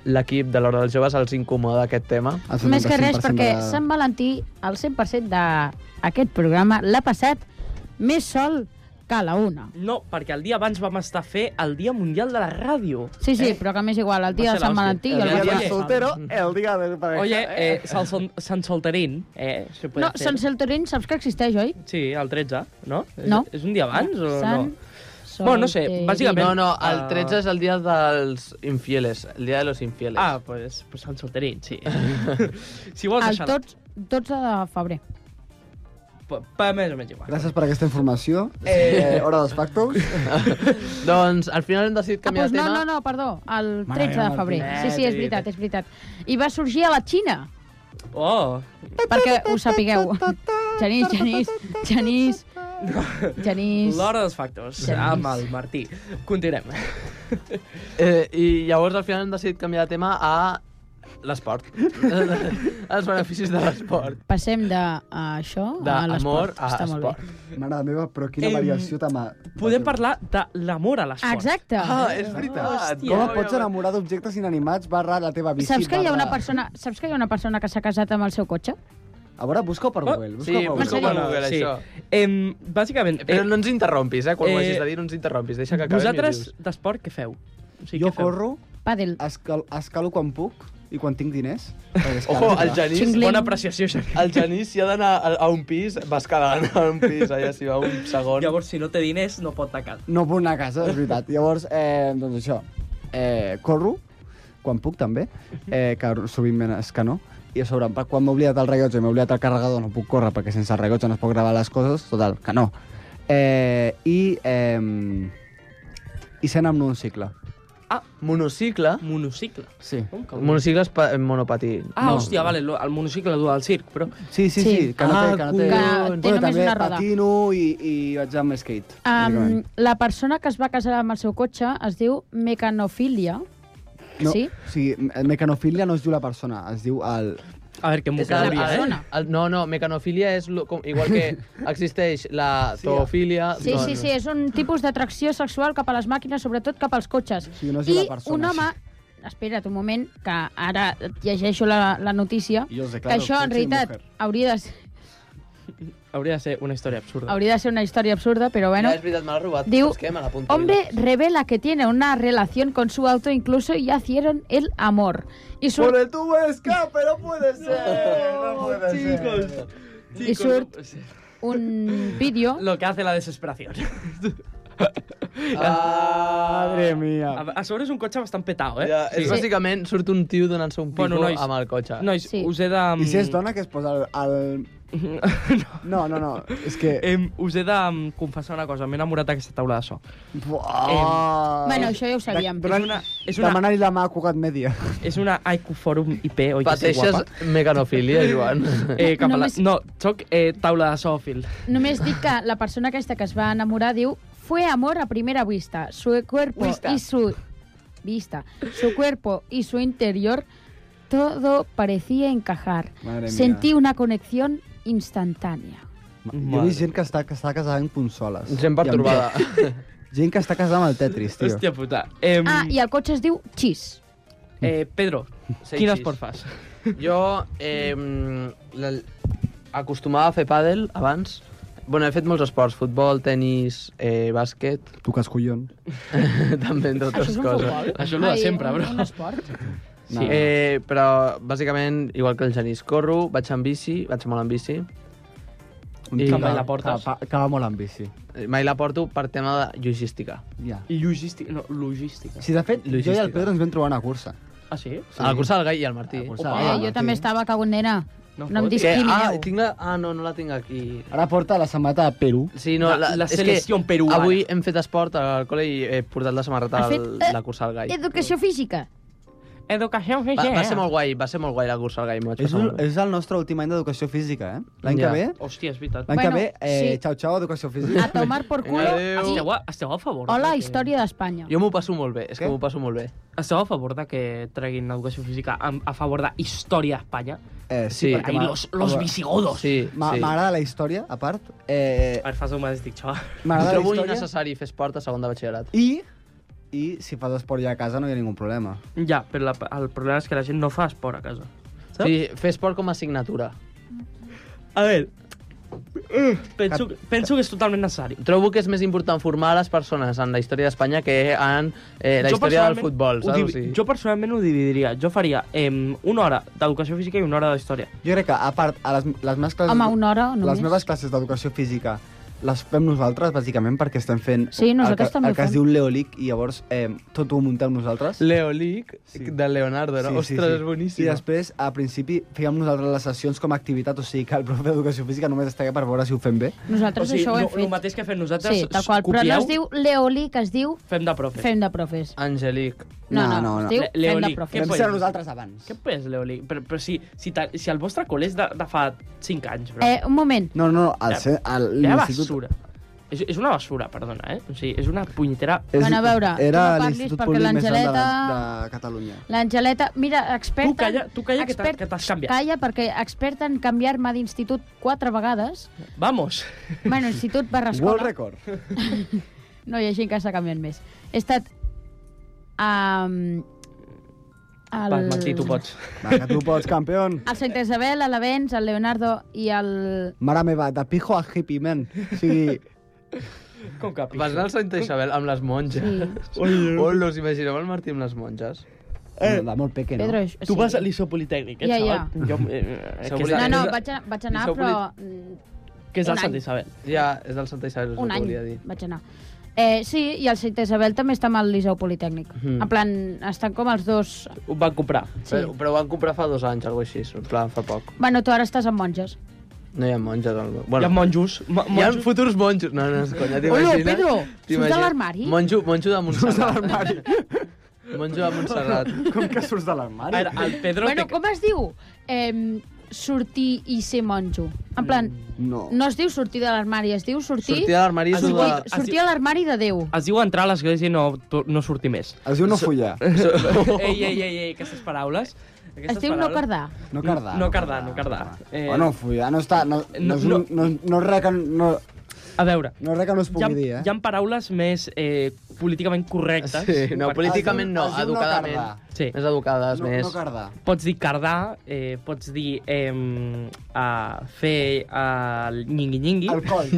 [SPEAKER 9] l'equip de l'Hora dels Joves els incomoda aquest tema.
[SPEAKER 7] El
[SPEAKER 8] més que res
[SPEAKER 7] 75%
[SPEAKER 8] perquè
[SPEAKER 7] de-
[SPEAKER 8] Sant Valentí, el 100% d'aquest programa, l'ha passat més sol que a la una.
[SPEAKER 6] No, perquè el dia abans vam estar a fer el Dia Mundial de la Ràdio.
[SPEAKER 8] Sí, sí, però que m'és igual, el
[SPEAKER 6] Va
[SPEAKER 8] dia
[SPEAKER 6] ser
[SPEAKER 8] de Sant
[SPEAKER 6] l'hòstia.
[SPEAKER 8] Valentí... i
[SPEAKER 6] El dia
[SPEAKER 8] dia
[SPEAKER 6] del
[SPEAKER 8] de-
[SPEAKER 7] soltero,
[SPEAKER 9] ah,
[SPEAKER 7] el dia del pareja.
[SPEAKER 6] Oye, eh, San, Sol- San Solterín, eh, se puede
[SPEAKER 8] No,
[SPEAKER 6] hacer.
[SPEAKER 8] Sant Solterín saps que existeix, oi?
[SPEAKER 6] Sí, el 13, no?
[SPEAKER 8] No.
[SPEAKER 6] És, és un dia abans o no?
[SPEAKER 8] Sant
[SPEAKER 6] Bueno, no sé,
[SPEAKER 8] Solterín.
[SPEAKER 6] bàsicament-
[SPEAKER 9] No, no, el
[SPEAKER 6] Ah.
[SPEAKER 9] 13 és el dia dels infieles, el dia de los infieles.
[SPEAKER 6] Ah, pues, pues Sant Solterín,
[SPEAKER 9] [LAUGHS]
[SPEAKER 6] sí. si vols
[SPEAKER 8] El
[SPEAKER 6] deixar...
[SPEAKER 8] tots, 12 de febrer.
[SPEAKER 6] Pa, pa, més o menys igual.
[SPEAKER 7] Gràcies per aquesta informació. Eh, hora dels factos.
[SPEAKER 9] Doncs al final hem decidit
[SPEAKER 8] Ah,
[SPEAKER 9] canviar
[SPEAKER 8] doncs
[SPEAKER 9] de
[SPEAKER 8] no,
[SPEAKER 9] tema.
[SPEAKER 8] no, no, perdó, el
[SPEAKER 4] Mare
[SPEAKER 8] 13
[SPEAKER 4] meva,
[SPEAKER 8] de febrer.
[SPEAKER 6] Martí.
[SPEAKER 8] Sí, sí, és veritat, és veritat. I va sorgir a la Xina,
[SPEAKER 6] Oh,
[SPEAKER 8] perquè ho sapigueu. Genís, Genís, Genís, Genís...
[SPEAKER 6] l'hora dels factors,
[SPEAKER 8] Genís.
[SPEAKER 6] amb el Martí. Continuem.
[SPEAKER 9] Eh, I llavors al final hem decidit canviar de tema a l'esport. Els beneficis de l'esport.
[SPEAKER 8] Passem de a això a
[SPEAKER 9] D'amor
[SPEAKER 8] Ah, l'esport.
[SPEAKER 9] a
[SPEAKER 8] Està molt
[SPEAKER 9] esport.
[SPEAKER 8] bé.
[SPEAKER 7] Mare meva, però quina
[SPEAKER 6] Em,
[SPEAKER 7] variació t'ama...
[SPEAKER 6] Podem parlar de l'amor a l'esport.
[SPEAKER 8] Exacte.
[SPEAKER 9] Ah, és veritat.
[SPEAKER 6] Hòstia.
[SPEAKER 9] eh?
[SPEAKER 7] Com et pots enamorar d'objectes inanimats barra la teva bici?
[SPEAKER 8] Saps que hi ha una
[SPEAKER 7] barra-
[SPEAKER 8] persona, saps que hi ha una persona que s'ha casat amb el seu cotxe?
[SPEAKER 7] A veure, busca-ho per
[SPEAKER 6] Oh,
[SPEAKER 7] Google.
[SPEAKER 9] Sí,
[SPEAKER 7] Busca-ho per
[SPEAKER 9] busca
[SPEAKER 7] Google.
[SPEAKER 9] per Google,
[SPEAKER 6] Sí.
[SPEAKER 9] això.
[SPEAKER 6] Em, bàsicament, eh,
[SPEAKER 9] Però no ens interrompis, eh? Quan ho
[SPEAKER 6] Eh,
[SPEAKER 9] hagis de dir, no ens interrompis. Deixa que acabem i
[SPEAKER 6] vosaltres
[SPEAKER 9] dius.
[SPEAKER 6] d'esport què feu? O
[SPEAKER 7] Jo
[SPEAKER 6] què feu?
[SPEAKER 7] corro,
[SPEAKER 8] Pàdel.
[SPEAKER 7] escal, escalo quan puc i quan tinc diners. perquè és
[SPEAKER 9] Ojo,
[SPEAKER 7] car,
[SPEAKER 9] el
[SPEAKER 7] clar.
[SPEAKER 9] Genís...
[SPEAKER 8] Xingling.
[SPEAKER 6] Bona apreciació, Xavier.
[SPEAKER 9] El Genís, si ha d'anar a, a un pis, va escalant a un pis, allà si va a un segon.
[SPEAKER 6] Llavors, si no té diners, no pot tacar.
[SPEAKER 7] No puc anar a casa, és veritat. Llavors, eh, doncs això, eh, corro, quan puc també, eh, que sovint és que no, i a sobre, quan m'he oblidat el rellotge i m'he oblidat el carregador, no puc córrer perquè sense el rellotge no es pot gravar les coses, total, que no. Eh, I... Eh, i sent amb un cicle.
[SPEAKER 9] Monocicle.
[SPEAKER 6] Monocicle.
[SPEAKER 7] Sí.
[SPEAKER 6] Com que
[SPEAKER 9] Monocicle és pa- eh, monopatí.
[SPEAKER 6] Ah,
[SPEAKER 7] No.
[SPEAKER 6] hòstia, vale, lo- el monocicle du al circ, però...
[SPEAKER 7] Sí, sí,
[SPEAKER 8] Sí.
[SPEAKER 7] sí, que no
[SPEAKER 9] Ah,
[SPEAKER 7] té... Que no té...
[SPEAKER 8] collons. Que té només
[SPEAKER 7] també
[SPEAKER 8] una roda.
[SPEAKER 7] patino i, i vaig amb skate.
[SPEAKER 8] Um,
[SPEAKER 7] bàsicament.
[SPEAKER 8] la persona que es va casar amb el seu cotxe es diu mecanofília.
[SPEAKER 7] no,
[SPEAKER 8] sí?
[SPEAKER 7] O sigui, mecanofília no es diu la persona, es diu el...
[SPEAKER 6] A veure, que m'ho
[SPEAKER 9] És el-
[SPEAKER 6] cauria,
[SPEAKER 9] el-
[SPEAKER 6] eh?
[SPEAKER 8] persona.
[SPEAKER 9] el- no, no, mecanofilia és lo- com, igual
[SPEAKER 6] [LAUGHS]
[SPEAKER 9] que existeix la doncs, zoofilia...
[SPEAKER 8] Sí,
[SPEAKER 9] no,
[SPEAKER 8] sí, sí, és un tipus d'atracció sexual cap a les màquines, sobretot cap als cotxes.
[SPEAKER 7] Sí, no es diu
[SPEAKER 8] I
[SPEAKER 7] la persona,
[SPEAKER 8] un home... Espera't un moment, que ara et llegeixo la, la notícia.
[SPEAKER 7] Jo sé,
[SPEAKER 8] que això, en realitat, hauria de, ser-
[SPEAKER 6] Hauria de ser una història absurda.
[SPEAKER 8] hauria de ser una història absurda, però
[SPEAKER 9] Bueno,
[SPEAKER 8] bueno...
[SPEAKER 9] ja, és veritat, me l'ha robat.
[SPEAKER 8] Diu,
[SPEAKER 9] Saps què? Me l'apunto.
[SPEAKER 8] Hombre revela que tiene una relación con su auto, incluso ya hicieron el amor. Y su...
[SPEAKER 7] Por el tubo de escape, no puede ser. No puede ser.
[SPEAKER 8] I surt un vídeo...
[SPEAKER 6] Lo que hace la desesperación.
[SPEAKER 7] Madre mía.
[SPEAKER 6] A, a sobre és un cotxe bastant petao, eh?
[SPEAKER 9] Ah, Ja, és bàsicament, surt un tio donant-se un pico
[SPEAKER 6] Bueno, nois-
[SPEAKER 9] amb el cotxe.
[SPEAKER 6] Nois,
[SPEAKER 8] Sí.
[SPEAKER 6] us he de...
[SPEAKER 7] I si és dona, que es posa el...
[SPEAKER 6] [LAUGHS]
[SPEAKER 7] el... No, no, no. És que...
[SPEAKER 6] Em, us he de mm, confessar una cosa, m'he enamorat d'aquesta taula de so.
[SPEAKER 7] Buah.
[SPEAKER 8] Bueno, això ja ho sabíem.
[SPEAKER 6] És
[SPEAKER 7] Donant-
[SPEAKER 6] una- és una-
[SPEAKER 7] Demanant-li la mà a Cugat Media.
[SPEAKER 6] És una IQ Forum IP, oi que sí,
[SPEAKER 9] Pateixes
[SPEAKER 6] guapa?
[SPEAKER 7] [LAUGHS]
[SPEAKER 9] mecanofilia, Joan.
[SPEAKER 6] Eh, cap a la...
[SPEAKER 8] Només-
[SPEAKER 6] No, soc eh, taula de zoòfil.
[SPEAKER 8] Només dic que la persona aquesta que es va enamorar diu Fue amor a primera vista. Su cuerpo
[SPEAKER 6] Vista.
[SPEAKER 8] y su... Vista. Su cuerpo y su interior todo parecía encajar.
[SPEAKER 7] Madre mía.
[SPEAKER 8] Sentí una conexión instantánea.
[SPEAKER 7] Jo he vist gent que està, que està casada amb consoles.
[SPEAKER 9] Gent pertorbada.
[SPEAKER 7] I amb- Gent que està casada amb el Tetris, tio.
[SPEAKER 6] Hòstia puta. Em,
[SPEAKER 7] Mm.
[SPEAKER 8] Ah, i el cotxe es diu Xis.
[SPEAKER 6] eh, Pedro,
[SPEAKER 9] Sí,
[SPEAKER 6] quin
[SPEAKER 9] sí.
[SPEAKER 6] esport fas?
[SPEAKER 9] [LAUGHS] Jo eh, la- acostumava a fer pàdel abans. Bueno, he fet molts esports, futbol, tennis, eh, bàsquet, [LAUGHS]
[SPEAKER 7] Tu que collons.
[SPEAKER 9] també entre
[SPEAKER 8] Això
[SPEAKER 9] altres
[SPEAKER 8] és un
[SPEAKER 9] coses.
[SPEAKER 8] futbol?
[SPEAKER 6] Això és lo de sempre,
[SPEAKER 8] un,
[SPEAKER 6] bro.
[SPEAKER 8] Un esport?
[SPEAKER 9] Sí. Eh, però, bàsicament, igual que el Genís, corro, vaig amb bici, vaig molt amb bici. I-
[SPEAKER 6] Que mai la portes.
[SPEAKER 7] Que, que va molt amb bici.
[SPEAKER 9] Eh, Mai la porto per tema de logística.
[SPEAKER 7] Ja.
[SPEAKER 6] Logística. No, logística.
[SPEAKER 7] Sí, de fet, jo i el
[SPEAKER 9] Logística.
[SPEAKER 7] Pedro ens vam trobar a una cursa.
[SPEAKER 6] Ah, sí?
[SPEAKER 9] Sí. A la cursa del Gai i el Martí.
[SPEAKER 7] A la cursa
[SPEAKER 8] Eh,
[SPEAKER 7] del
[SPEAKER 8] jo
[SPEAKER 7] Gai. Ah, sí.
[SPEAKER 8] també estava cagonera. No, no
[SPEAKER 6] fot.
[SPEAKER 8] em
[SPEAKER 9] Que,
[SPEAKER 8] discrimineu.
[SPEAKER 9] ah, tinc la... ah, no, no la tinc aquí.
[SPEAKER 7] Ara porta la samarreta de Perú.
[SPEAKER 9] Sí, no,
[SPEAKER 6] La- la
[SPEAKER 9] és que
[SPEAKER 6] selecció peruana.
[SPEAKER 9] Avui hem fet esport al col·le i he portat la samarreta al,
[SPEAKER 8] Has fet, eh,
[SPEAKER 9] la cursa del Gai.
[SPEAKER 8] Educació física.
[SPEAKER 6] Educació
[SPEAKER 9] Va,
[SPEAKER 6] física.
[SPEAKER 9] va ser molt guai, va ser molt guai la cursa del Gai. m'ho vaig
[SPEAKER 7] És,
[SPEAKER 9] passar
[SPEAKER 7] un,
[SPEAKER 9] molt bé.
[SPEAKER 7] és el nostre últim any d'educació física, eh? L'any
[SPEAKER 9] Ja.
[SPEAKER 7] que ve,
[SPEAKER 6] Hòstia, és veritat.
[SPEAKER 7] l'any
[SPEAKER 8] Bueno,
[SPEAKER 7] que ve, eh,
[SPEAKER 8] sí.
[SPEAKER 7] xau, xau, educació física.
[SPEAKER 8] A tomar por culo.
[SPEAKER 9] Vinga, adéu.
[SPEAKER 8] i
[SPEAKER 6] Esteu a, esteu a favor?
[SPEAKER 8] Hola,
[SPEAKER 6] de que-
[SPEAKER 8] història d'Espanya.
[SPEAKER 9] Jo m'ho passo molt bé, és
[SPEAKER 7] Què?
[SPEAKER 9] que m'ho passo molt bé.
[SPEAKER 6] Esteu a favor de que treguin educació física a, a favor de història d'Espanya?
[SPEAKER 7] Eh,
[SPEAKER 9] Sí,
[SPEAKER 7] perquè
[SPEAKER 6] Ahí
[SPEAKER 7] m'ha-
[SPEAKER 6] los, los
[SPEAKER 7] m'ha-
[SPEAKER 6] visigodos.
[SPEAKER 9] Sí,
[SPEAKER 7] m'ha-
[SPEAKER 9] sí.
[SPEAKER 7] Oh, M'agrada la història, a part. Eh,
[SPEAKER 6] A ver, fas un mal estic, xaval.
[SPEAKER 9] Ho
[SPEAKER 7] M'agrada la
[SPEAKER 9] trobo
[SPEAKER 7] història.
[SPEAKER 9] innecessari fer esport a segon de batxillerat.
[SPEAKER 7] I, I si fas esport ja a casa no hi ha ningú problema.
[SPEAKER 6] Ja, però la, el problema és que la gent no fa esport a casa. Saps?
[SPEAKER 9] Sí, fer esport com a assignatura.
[SPEAKER 6] A veure, eh, penso, que- penso que és totalment necessari.
[SPEAKER 9] Trobo que és més important formar les persones en la història d'Espanya que en eh, la història del
[SPEAKER 6] personalment
[SPEAKER 9] futbol,
[SPEAKER 6] ho
[SPEAKER 9] saps? O
[SPEAKER 6] divi-
[SPEAKER 9] sigui,
[SPEAKER 6] Jo personalment ho dividiria. Jo faria eh, una hora d'educació física i una hora d'història.
[SPEAKER 7] Jo crec que, a part, a les, les meves classes...
[SPEAKER 8] Home, una hora
[SPEAKER 7] Les
[SPEAKER 8] només.
[SPEAKER 7] meves classes d'educació física les fem nosaltres, bàsicament, perquè estem fent
[SPEAKER 8] Sí,
[SPEAKER 7] el,
[SPEAKER 8] nosaltres
[SPEAKER 7] que,
[SPEAKER 8] també ho
[SPEAKER 7] el que es
[SPEAKER 8] fem.
[SPEAKER 7] diu Leolic i llavors eh, tot ho muntem nosaltres.
[SPEAKER 9] Leolic,
[SPEAKER 7] Sí.
[SPEAKER 9] de Leonardo, no? Ostres, és boníssim.
[SPEAKER 7] I després, a principi, fèiem nosaltres les sessions com a activitat, o sigui que el profe d'educació física només està allà per veure si ho fem bé.
[SPEAKER 8] Nosaltres això ho hem
[SPEAKER 6] no, el
[SPEAKER 8] fet.
[SPEAKER 6] mateix que fem nosaltres,
[SPEAKER 8] Sí, tal qual. Però no
[SPEAKER 6] copieu,
[SPEAKER 8] es diu Leoli, que es diu
[SPEAKER 6] fem de profe.
[SPEAKER 8] Fem de Profes.
[SPEAKER 9] Angelic.
[SPEAKER 8] No,
[SPEAKER 7] No,
[SPEAKER 8] no,
[SPEAKER 7] no, no.
[SPEAKER 8] es diu
[SPEAKER 6] Le-
[SPEAKER 8] Fem de
[SPEAKER 6] Leoli,
[SPEAKER 8] Profes.
[SPEAKER 6] què
[SPEAKER 7] Fem
[SPEAKER 6] pots?
[SPEAKER 7] ser nosaltres abans.
[SPEAKER 6] Què pes, Leoli? Però, però si, si, ta, si el vostre col·le és de, de fa 5 anys, bro.
[SPEAKER 8] Eh, un moment.
[SPEAKER 7] No, no, no, al ce- a
[SPEAKER 6] Era
[SPEAKER 7] l'institut...
[SPEAKER 6] basura. És, és una basura, perdona, eh? O sigui, és una punyetera...
[SPEAKER 7] és-
[SPEAKER 8] Bueno, a veure,
[SPEAKER 7] era
[SPEAKER 8] tu no parlis
[SPEAKER 7] l'Institut
[SPEAKER 8] perquè
[SPEAKER 7] Públic més gran de, la-
[SPEAKER 8] l'Angeleta-
[SPEAKER 7] de Catalunya.
[SPEAKER 8] L'Angeleta, mira, experta...
[SPEAKER 6] Tu calla- tu calla, que t'ha-
[SPEAKER 8] expert-
[SPEAKER 6] que t'has canviat.
[SPEAKER 8] Calla, perquè experta en canviar-me d'institut quatre vegades.
[SPEAKER 6] Vamos!
[SPEAKER 8] Bueno, institut barra
[SPEAKER 7] World
[SPEAKER 8] escola.
[SPEAKER 7] record.
[SPEAKER 8] No, hi ha gent que s'ha canviat més. He estat... Um,
[SPEAKER 6] El... Va, Martí, tu pots.
[SPEAKER 7] Va, que tu pots, campion.
[SPEAKER 8] El Santa Isabel, a l'Avens, el Leonardo i el...
[SPEAKER 7] Mare meva, de pijo a hippie, man. O sigui,
[SPEAKER 6] Com que
[SPEAKER 9] Vas anar al Santa Isabel amb les monges. Sí. Hola, us imagineu el Martí amb les monges?
[SPEAKER 7] eh, de molt peque, no?
[SPEAKER 8] Pedro, sí.
[SPEAKER 6] Tu vas a l'Iso Politécnic, eh,
[SPEAKER 8] Ja,
[SPEAKER 6] xaval?
[SPEAKER 8] ja.
[SPEAKER 6] Jo, [LAUGHS] eh, eh, que és,
[SPEAKER 8] No,
[SPEAKER 9] Politécnic.
[SPEAKER 6] no,
[SPEAKER 8] no,
[SPEAKER 6] no,
[SPEAKER 8] vaig, a, vaig anar,
[SPEAKER 9] Liceu
[SPEAKER 8] però
[SPEAKER 9] Polit-
[SPEAKER 8] mm,
[SPEAKER 6] que és
[SPEAKER 8] un
[SPEAKER 6] el
[SPEAKER 8] any.
[SPEAKER 6] Sant Isabel.
[SPEAKER 9] Ja, és del Santa Isabel, us
[SPEAKER 8] un
[SPEAKER 9] ho
[SPEAKER 8] any
[SPEAKER 9] volia dir.
[SPEAKER 8] vaig anar. Eh, sí, i el Santa Isabel també està amb el Liceu Politécnic.
[SPEAKER 9] Mhm.
[SPEAKER 8] En plan, estan com els dos...
[SPEAKER 6] Ho van comprar.
[SPEAKER 8] Sí.
[SPEAKER 9] Però, però ho van comprar fa dos anys, alguna cosa així, en plan, fa poc.
[SPEAKER 8] Bueno, tu ara estàs amb monges.
[SPEAKER 9] No hi ha monges. Al...
[SPEAKER 6] Hi
[SPEAKER 9] Bueno,
[SPEAKER 6] ha monjos. mo-
[SPEAKER 9] hi ha
[SPEAKER 6] monjos.
[SPEAKER 9] futurs monjos. No, no, conya, t'imagines?
[SPEAKER 8] Olo, Pedro, surts
[SPEAKER 9] T'imagines?
[SPEAKER 8] de l'armari?
[SPEAKER 9] Monjo, monjo de Montserrat. Surts de l'armari. [LAUGHS] Monjo de Montserrat.
[SPEAKER 7] Com que surts de
[SPEAKER 6] A
[SPEAKER 7] l'armari?
[SPEAKER 6] veure, el Pedro...
[SPEAKER 8] bueno,
[SPEAKER 6] té-
[SPEAKER 8] com es diu? Eh, sortir i ser monjo. En plan,
[SPEAKER 7] No.
[SPEAKER 8] no es diu sortir de l'armari, es diu sortir...
[SPEAKER 9] Sortir de l'armari és
[SPEAKER 6] Has
[SPEAKER 9] una...
[SPEAKER 6] dit-
[SPEAKER 8] sortir, sortir a l'armari de Déu.
[SPEAKER 6] Es diu entrar a l'església i no, to- no sortir més.
[SPEAKER 7] Es diu no follar.
[SPEAKER 6] ei, ei, ei, ei, aquestes paraules...
[SPEAKER 8] Es diu no cardar.
[SPEAKER 7] No cardar.
[SPEAKER 6] No cardar, no cardar.
[SPEAKER 7] Eh...
[SPEAKER 6] Eh,
[SPEAKER 7] Bueno, follar no està... No, no, és un- no, no, és res que no,
[SPEAKER 6] A veure,
[SPEAKER 7] no és res que no es
[SPEAKER 6] hi ha,
[SPEAKER 7] pugui dir, eh?
[SPEAKER 6] hi ha paraules més eh, políticament correctes.
[SPEAKER 9] Sí, no,
[SPEAKER 6] Per-
[SPEAKER 9] políticament no,
[SPEAKER 7] Es diu- es diu no
[SPEAKER 9] educadament.
[SPEAKER 7] cardar.
[SPEAKER 6] Sí.
[SPEAKER 9] Més educades,
[SPEAKER 7] no,
[SPEAKER 9] més...
[SPEAKER 7] no cardar.
[SPEAKER 6] Pots dir cardar, eh, pots dir eh, uh, fer eh, el nyingui-nyingui.
[SPEAKER 7] El coll.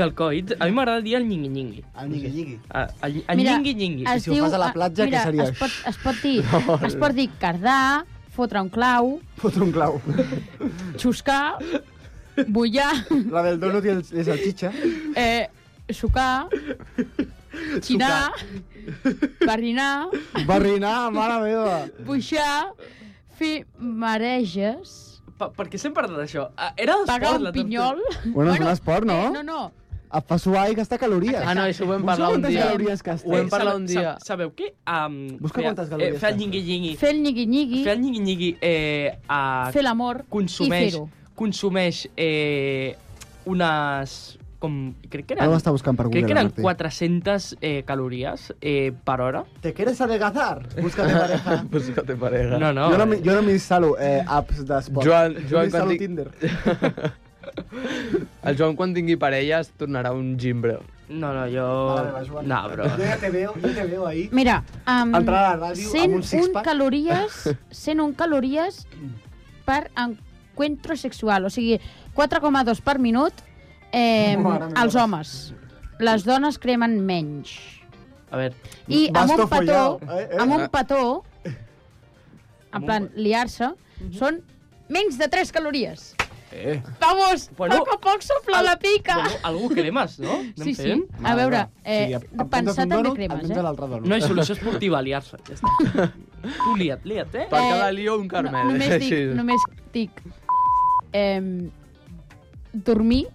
[SPEAKER 6] Fer el coit. A mi m'agrada dir el nyingui-nyingui.
[SPEAKER 7] El nyigui-nyigui.
[SPEAKER 6] El, el, el
[SPEAKER 8] Mira,
[SPEAKER 6] nyingui-nyingui.
[SPEAKER 8] es
[SPEAKER 7] si ho
[SPEAKER 8] diu-
[SPEAKER 7] fas a la platja,
[SPEAKER 8] mira,
[SPEAKER 7] què seria?
[SPEAKER 8] Es pot, es pot dir, es pot dir cardar, fotre un clau,
[SPEAKER 7] Fotre un clau.
[SPEAKER 8] xuscar, bullar,
[SPEAKER 7] La del donut i el, i el salchicha.
[SPEAKER 8] eh,
[SPEAKER 7] [LAUGHS]
[SPEAKER 8] sucar, xinar, [LAUGHS] barrinar,
[SPEAKER 7] Barrinar, mare meva.
[SPEAKER 8] puixar, fer mareges,
[SPEAKER 6] Per, per què sempre parlat d'això? Ah, Era d'esport,
[SPEAKER 8] pagar un
[SPEAKER 6] la tertúlia.
[SPEAKER 8] pinyol...
[SPEAKER 7] Bueno, és un esport, no?
[SPEAKER 8] Eh, no, no.
[SPEAKER 7] Et Ah, fa suar i gastar calories.
[SPEAKER 9] Ah, no, això ho vam
[SPEAKER 7] Busca
[SPEAKER 9] parlar un
[SPEAKER 7] quantes
[SPEAKER 9] dia.
[SPEAKER 7] calories que has
[SPEAKER 9] Ho hem
[SPEAKER 6] Eh,
[SPEAKER 9] parlat
[SPEAKER 6] sabe-
[SPEAKER 9] un dia.
[SPEAKER 6] sab- Sabeu què? Um,
[SPEAKER 7] Busca quantes
[SPEAKER 6] Eh,
[SPEAKER 7] calories
[SPEAKER 6] fer el
[SPEAKER 7] tens.
[SPEAKER 6] nyingui-nyingui.
[SPEAKER 8] Fer el nyigui-nyigui,
[SPEAKER 6] Fer el nyingui-nyingui eh, a...
[SPEAKER 8] fer l'amor i
[SPEAKER 6] consumeix,
[SPEAKER 8] fer-ho.
[SPEAKER 6] consumeix eh, unes... Com, crec que
[SPEAKER 7] Ara ho
[SPEAKER 6] eren,
[SPEAKER 7] està buscant per Google,
[SPEAKER 6] crec que eren
[SPEAKER 7] Martí.
[SPEAKER 6] 400 eh, calories eh, per hora.
[SPEAKER 7] ¿Te quieres adelgazar? Búscate [LAUGHS]
[SPEAKER 9] [LAUGHS]
[SPEAKER 7] pareja.
[SPEAKER 9] Busca-te pareja.
[SPEAKER 6] No, no.
[SPEAKER 7] jo, no,
[SPEAKER 6] eh,
[SPEAKER 7] m'hi- jo no m'instal·lo eh, apps d'esport.
[SPEAKER 9] Joan- Joan, quan
[SPEAKER 7] jo m'instal·lo
[SPEAKER 9] dic-
[SPEAKER 7] Tinder.
[SPEAKER 9] El Joan, quan tingui parella, es tornarà un gimbre.
[SPEAKER 6] No, no, jo...
[SPEAKER 9] Oh.
[SPEAKER 7] Vale, va, Joan.
[SPEAKER 6] no, bro.
[SPEAKER 7] Yo ya te veo, yo te veo ahí.
[SPEAKER 8] Mira, um,
[SPEAKER 7] Entrar a la ràdio amb un
[SPEAKER 8] 101
[SPEAKER 7] six-pack. Mm.
[SPEAKER 8] calories,
[SPEAKER 7] [LAUGHS]
[SPEAKER 8] 101 calories per encuentro sexual, o sigui, 4,2 per minut eh,
[SPEAKER 7] Mare meva.
[SPEAKER 8] als homes. Les dones cremen menys.
[SPEAKER 6] A veure,
[SPEAKER 8] I amb
[SPEAKER 7] Basto
[SPEAKER 8] un petó,
[SPEAKER 7] follao, eh, eh?
[SPEAKER 8] amb un petó en plan liar-se,
[SPEAKER 6] Mhm.
[SPEAKER 8] són menys de 3 calories.
[SPEAKER 7] Eh.
[SPEAKER 8] Vamos,
[SPEAKER 6] Bueno,
[SPEAKER 8] poc a poc s'omple
[SPEAKER 6] al-
[SPEAKER 8] la pica!
[SPEAKER 6] Bueno, algú cremes, no? Anem
[SPEAKER 8] sí, sí.
[SPEAKER 6] fent.
[SPEAKER 8] A veure,
[SPEAKER 7] Sí,
[SPEAKER 8] eh, sí,
[SPEAKER 7] apuntes un
[SPEAKER 8] pensar també
[SPEAKER 7] donut,
[SPEAKER 8] cremes,
[SPEAKER 7] apunta
[SPEAKER 8] eh?
[SPEAKER 7] l'altre donut.
[SPEAKER 6] No hi ha solució esportiva, liar-se. Ja està. tu lia't, lia't, eh?
[SPEAKER 9] Per
[SPEAKER 8] Eh,
[SPEAKER 9] cada lío, un carmel.
[SPEAKER 8] No,
[SPEAKER 9] [LAUGHS]
[SPEAKER 8] només dic,
[SPEAKER 9] Així.
[SPEAKER 8] només dic eh, dormir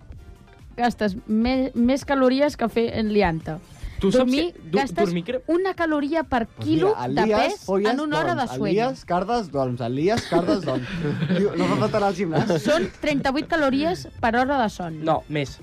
[SPEAKER 8] gastes me, més calories que fer en lianta.
[SPEAKER 6] Tu
[SPEAKER 8] dormir
[SPEAKER 6] saps que...
[SPEAKER 8] gastes
[SPEAKER 6] dormir cre...
[SPEAKER 8] Una caloria per quilo
[SPEAKER 7] Pues
[SPEAKER 8] de
[SPEAKER 7] Elias
[SPEAKER 8] pes en una hora de
[SPEAKER 7] dorms,
[SPEAKER 8] sueño.
[SPEAKER 7] Elias Cardes dorms, Elias Cardes
[SPEAKER 8] [LAUGHS]
[SPEAKER 7] dorms. Diu, no fa falta anar al gimnàs.
[SPEAKER 8] Són 38 calories per hora de son.
[SPEAKER 6] No, més.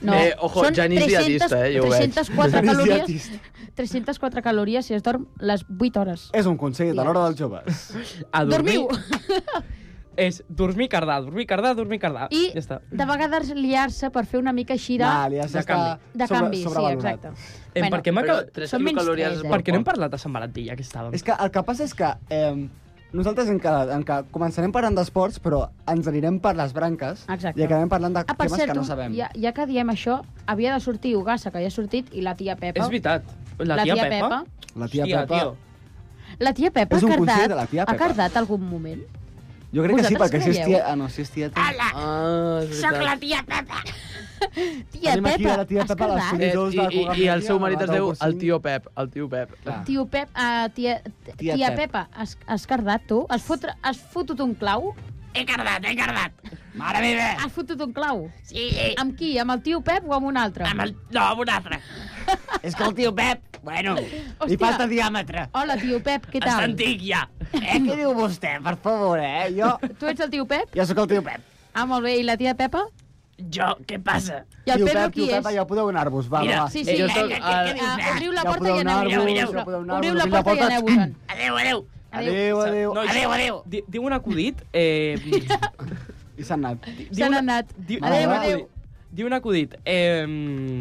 [SPEAKER 8] no.
[SPEAKER 9] Eh, ojo,
[SPEAKER 8] són
[SPEAKER 9] Janis
[SPEAKER 8] 300
[SPEAKER 9] dietista, eh, jo ho veig.
[SPEAKER 7] [LAUGHS]
[SPEAKER 8] 304
[SPEAKER 7] Janis
[SPEAKER 8] calories,
[SPEAKER 7] dietista.
[SPEAKER 8] 304 calories si es dorm les 8 hores.
[SPEAKER 7] És un consell de l'hora dels joves.
[SPEAKER 6] A dormir...
[SPEAKER 8] Dormiu!
[SPEAKER 6] És dormir cardar, dormir cardar, dormir cardar.
[SPEAKER 8] I
[SPEAKER 6] Ja està.
[SPEAKER 8] de vegades liar-se per fer una mica així de,
[SPEAKER 7] Va, Elias
[SPEAKER 6] de
[SPEAKER 7] Ah, està
[SPEAKER 6] canvi.
[SPEAKER 8] de
[SPEAKER 7] sobre-
[SPEAKER 8] canvi. sí,
[SPEAKER 7] sobrevalorat.
[SPEAKER 8] exacte.
[SPEAKER 6] Eh,
[SPEAKER 8] Bueno,
[SPEAKER 6] perquè m'ha
[SPEAKER 9] Però
[SPEAKER 6] acabat...
[SPEAKER 9] 3
[SPEAKER 8] són menys
[SPEAKER 9] quilocalories
[SPEAKER 8] tres,
[SPEAKER 9] és
[SPEAKER 8] eh?
[SPEAKER 9] molt
[SPEAKER 6] Perquè no hem
[SPEAKER 9] poc.
[SPEAKER 6] parlat de Sant Valentí, ja que estàvem.
[SPEAKER 7] És que el que passa és que eh, nosaltres en que, en que començarem parlant d'esports, però ens anirem per les branques
[SPEAKER 8] Exacte.
[SPEAKER 7] i acabarem parlant de
[SPEAKER 8] Ah, per
[SPEAKER 7] temes
[SPEAKER 8] cert,
[SPEAKER 7] que no
[SPEAKER 8] tu,
[SPEAKER 7] sabem.
[SPEAKER 8] ja, ja que diem això, havia de sortir Ugassa, que ja ha sortit, i la tia Pepa.
[SPEAKER 6] És veritat. La, tia, Pepa...
[SPEAKER 7] La tia Pepa...
[SPEAKER 6] Tio.
[SPEAKER 8] La tia Pepa
[SPEAKER 7] És
[SPEAKER 8] ha
[SPEAKER 7] un consell
[SPEAKER 8] cardat,
[SPEAKER 7] de la tia
[SPEAKER 8] ha
[SPEAKER 7] Pepa.
[SPEAKER 8] cardat algun moment?
[SPEAKER 7] Jo crec que sí,
[SPEAKER 8] Vosaltres
[SPEAKER 7] perquè si és
[SPEAKER 8] creieu?
[SPEAKER 7] tia... Ah, no, si és tia... [LAUGHS] Tia,
[SPEAKER 9] Ah, és veritat.
[SPEAKER 8] Tia
[SPEAKER 7] Tenim aquí
[SPEAKER 8] Pepa,
[SPEAKER 7] a la tia
[SPEAKER 8] has
[SPEAKER 7] Pepa, la
[SPEAKER 8] cardat?
[SPEAKER 9] Eh,
[SPEAKER 7] Dos
[SPEAKER 9] i,
[SPEAKER 7] de
[SPEAKER 9] i,
[SPEAKER 7] Cugat
[SPEAKER 9] I el
[SPEAKER 7] Media,
[SPEAKER 9] seu marit es
[SPEAKER 7] Nadal
[SPEAKER 9] diu el
[SPEAKER 7] Bocín.
[SPEAKER 9] tio Pep, el tio Pep.
[SPEAKER 7] Clar.
[SPEAKER 8] Tio Pep, uh, tia, tia, tia
[SPEAKER 7] Pep.
[SPEAKER 8] Pepa, has, has cardat tu? Has, fotre, has fotut un clau? He cardat, he cardat. Mare meva! Has fotut un clau? Sí. Amb qui? Amb el tio Pep o amb un altre? Amb el...
[SPEAKER 4] És que el tio Pep, bueno, Hòstia.
[SPEAKER 8] Hòstia.
[SPEAKER 4] li falta diàmetre.
[SPEAKER 8] Hola, tio Pep, què tal?
[SPEAKER 4] Eh, què diu vostè, per favor, eh? Jo,
[SPEAKER 8] Tu ets el tio Pep?
[SPEAKER 4] jo sóc el tio Pep.
[SPEAKER 8] Ah, molt bé. I la tia Pepa? Jo, què passa? I el
[SPEAKER 7] tio
[SPEAKER 8] Pedro
[SPEAKER 7] Pep,
[SPEAKER 8] qui
[SPEAKER 7] tio Pep,
[SPEAKER 8] és?
[SPEAKER 7] ja podeu anar-vos, va, va.
[SPEAKER 8] Sí, sí.
[SPEAKER 9] Eh, jo soc el-
[SPEAKER 8] Ah, obriu la
[SPEAKER 7] Ja
[SPEAKER 8] porta
[SPEAKER 7] podeu
[SPEAKER 8] i
[SPEAKER 7] anar-vos,
[SPEAKER 8] aneu-vos.
[SPEAKER 7] ja podeu anar-vos, obriu
[SPEAKER 8] Obriu la
[SPEAKER 7] la
[SPEAKER 8] porta i
[SPEAKER 7] porta.
[SPEAKER 8] aneu-vos.
[SPEAKER 7] Adéu, adéu.
[SPEAKER 6] No, adéu, adéu. Di, diu un acudit... Eh,
[SPEAKER 7] I s'han anat.
[SPEAKER 8] Se n'han anat.
[SPEAKER 6] diu,
[SPEAKER 8] Adéu,
[SPEAKER 6] diu un
[SPEAKER 8] adéu.
[SPEAKER 6] acudit- Diu un acudit. Eh,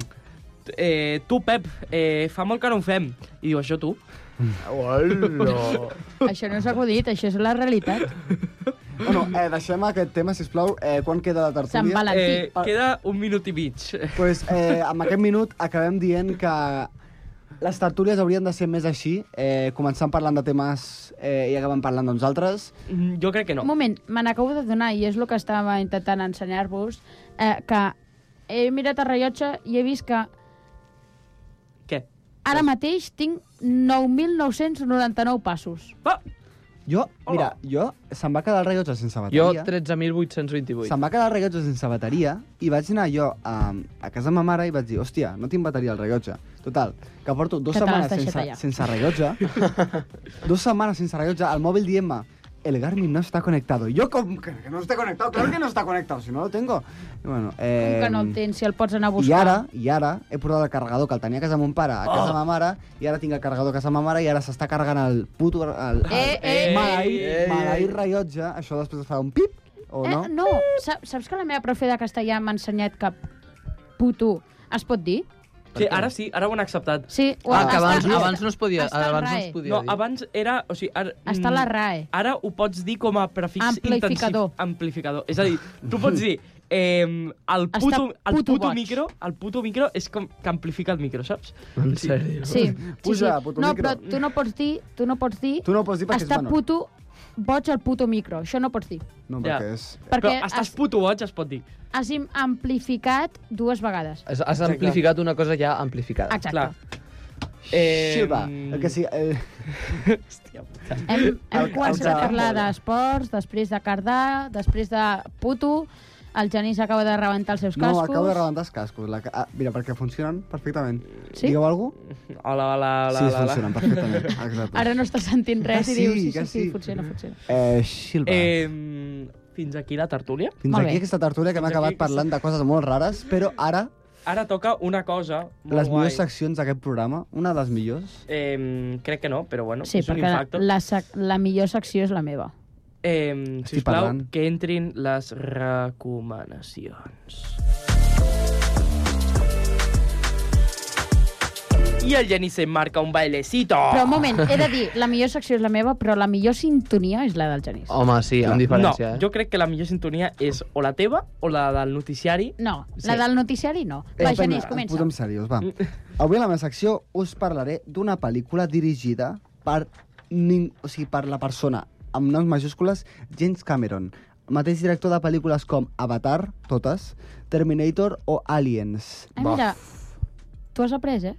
[SPEAKER 6] eh, tu, Pep, eh, fa molt que no ho fem. I diu, això tu.
[SPEAKER 7] [LAUGHS]
[SPEAKER 9] Hola.
[SPEAKER 8] Això no és acudit, això és la realitat.
[SPEAKER 7] Bueno, eh, deixem aquest tema, sisplau. Eh, quan queda la tertúlia?
[SPEAKER 8] Sant Valentí.
[SPEAKER 6] Eh,
[SPEAKER 7] Ah.
[SPEAKER 6] queda un minut i mig.
[SPEAKER 7] pues, eh, amb aquest minut acabem dient que les tertúlies haurien de ser més així, eh, començant parlant de temes eh, i acabant parlant d'uns altres.
[SPEAKER 6] Mm, Jo crec que no.
[SPEAKER 8] Un moment, me n'acabo de donar, i és el que estava intentant ensenyar-vos, eh, que he mirat el rellotge i he vist que
[SPEAKER 6] Què?
[SPEAKER 8] ara
[SPEAKER 7] Eh.
[SPEAKER 8] mateix tinc 9.999 passos.
[SPEAKER 6] Va,
[SPEAKER 7] Jo, mira, jo se'm va quedar el rellotge sense
[SPEAKER 9] Jo,
[SPEAKER 7] bateria.
[SPEAKER 9] 13.828.
[SPEAKER 7] Se'm va quedar el rellotge sense bateria i vaig anar jo a, a casa de ma mare i vaig dir, hòstia, no tinc bateria al rellotge. Total, que porto dues
[SPEAKER 8] Que te l'has
[SPEAKER 7] setmanes
[SPEAKER 8] deixat
[SPEAKER 7] sense, sense
[SPEAKER 8] allà.
[SPEAKER 7] rellotge. dues setmanes sense rellotge, al mòbil dient-me, el Garmin no està connectado. Jo com que, que no està connectado, claro que no està connectado, si no lo tengo. I, bueno,
[SPEAKER 8] Com
[SPEAKER 7] eh,
[SPEAKER 8] que no el tens, si el pots anar a
[SPEAKER 7] I
[SPEAKER 8] buscar.
[SPEAKER 7] ara, i ara he portat el carregador que el tenia a casa de mon pare, a casa de ma mare, i ara tinc el carregador a casa de ma mare i ara s'està carregant el puto... El, el,
[SPEAKER 8] Eh, eh,
[SPEAKER 7] maleït,
[SPEAKER 9] eh, eh.
[SPEAKER 7] maleït rellotge, això després es farà un pip, o no?
[SPEAKER 8] Eh, no, sa- saps que la meva profe de castellà m'ha ensenyat que puto es pot dir?
[SPEAKER 6] sí, ara sí, ara ho han acceptat.
[SPEAKER 8] Sí, ho-
[SPEAKER 9] Ah, que abans,
[SPEAKER 8] està-
[SPEAKER 9] abans no es podia,
[SPEAKER 8] està al
[SPEAKER 9] abans no
[SPEAKER 8] RAE.
[SPEAKER 9] es podia
[SPEAKER 6] No,
[SPEAKER 9] dir.
[SPEAKER 6] abans era... O sigui, ara, mm,
[SPEAKER 8] Està a la RAE.
[SPEAKER 6] Ara ho pots dir com a prefix
[SPEAKER 8] Amplificador.
[SPEAKER 6] intensiu. Amplificador. És a dir, tu pots dir... Eh, el
[SPEAKER 8] Està
[SPEAKER 6] puto, el
[SPEAKER 8] puto
[SPEAKER 6] puto
[SPEAKER 8] boig.
[SPEAKER 6] micro, el puto micro és com que amplifica el micro, saps?
[SPEAKER 9] En
[SPEAKER 7] [LAUGHS]
[SPEAKER 9] sèrio.
[SPEAKER 8] Sí,
[SPEAKER 7] Puja,
[SPEAKER 8] sí, sí.
[SPEAKER 7] puto
[SPEAKER 8] no,
[SPEAKER 7] micro.
[SPEAKER 8] però tu no pots dir, tu no pots dir,
[SPEAKER 7] Tu no ho pots dir perquè és
[SPEAKER 8] està
[SPEAKER 7] menor.
[SPEAKER 8] puto boig al puto micro, això no pots dir.
[SPEAKER 7] No,
[SPEAKER 6] Ja.
[SPEAKER 7] perquè és...
[SPEAKER 6] Però
[SPEAKER 8] Perquè
[SPEAKER 6] estàs puto boig, es pot dir.
[SPEAKER 8] has, has im- amplificat dues vegades.
[SPEAKER 9] Has, has amplificat una cosa ja amplificada.
[SPEAKER 8] Exacte.
[SPEAKER 6] Clar.
[SPEAKER 7] Eh... Xiva, el que sí... Eh...
[SPEAKER 6] Hòstia,
[SPEAKER 8] Hem, hem
[SPEAKER 7] El-
[SPEAKER 8] començat
[SPEAKER 7] el-
[SPEAKER 8] a parlar d'esports, després de cardar, després de puto, el Genís acaba de rebentar els seus
[SPEAKER 7] No,
[SPEAKER 8] cascos.
[SPEAKER 7] acabo de rebentar els cascos. La... ca- Ah, mira, perquè funcionen perfectament.
[SPEAKER 8] Sí?
[SPEAKER 7] Digueu alguna cosa?
[SPEAKER 6] Hola, hola, hola.
[SPEAKER 7] sí,
[SPEAKER 6] hola, hola.
[SPEAKER 7] funcionen perfectament. Exacte.
[SPEAKER 8] Ara no està sentint res
[SPEAKER 7] Que
[SPEAKER 8] i diu,
[SPEAKER 7] sí,
[SPEAKER 8] sí, sí,
[SPEAKER 7] que
[SPEAKER 8] sí,
[SPEAKER 7] sí.
[SPEAKER 8] funciona, funciona.
[SPEAKER 7] Eh, Xilva. Eh...
[SPEAKER 6] Eh, fins aquí la tertúlia.
[SPEAKER 7] Fins
[SPEAKER 8] Molt
[SPEAKER 7] aquí
[SPEAKER 8] bé.
[SPEAKER 7] aquesta tertúlia que hem
[SPEAKER 6] Fins aquí
[SPEAKER 7] acabat
[SPEAKER 6] aquesta-
[SPEAKER 7] parlant de coses molt rares, però ara
[SPEAKER 6] Ara toca una cosa molt
[SPEAKER 7] les
[SPEAKER 6] guai.
[SPEAKER 7] millors seccions d'aquest programa, una de les millors,
[SPEAKER 6] Eh, crec que no, però bueno,
[SPEAKER 8] Sí,
[SPEAKER 6] és un
[SPEAKER 8] perquè
[SPEAKER 6] infacto.
[SPEAKER 8] la, sec- la millor secció és la meva.
[SPEAKER 6] Eh,
[SPEAKER 7] Estic
[SPEAKER 6] sisplau,
[SPEAKER 7] parlant.
[SPEAKER 6] que entrin les recomanacions. I el Geni se marca un bailecito.
[SPEAKER 8] Però un moment,
[SPEAKER 7] [LAUGHS]
[SPEAKER 8] he de dir, la millor secció és la meva, però la millor sintonia és la del Genís.
[SPEAKER 7] Oh,
[SPEAKER 9] Home, sí, amb
[SPEAKER 6] No,
[SPEAKER 9] diferència. eh?
[SPEAKER 6] jo crec que la millor sintonia és o la teva o la del noticiari.
[SPEAKER 8] No, la
[SPEAKER 6] Sí.
[SPEAKER 8] del noticiari no. Va,
[SPEAKER 7] Espera, ens
[SPEAKER 8] Genís,
[SPEAKER 7] Eh, Posem
[SPEAKER 8] comença.
[SPEAKER 7] seriós, va. Avui a la meva secció us parlaré d'una pel·lícula dirigida per, ning... o sigui, per la persona amb noms majúscules James Cameron, mateix director de pel·lícules com Avatar, totes, Terminator o Aliens.
[SPEAKER 8] Ai, Eh, Ah, mira, tu has après, eh?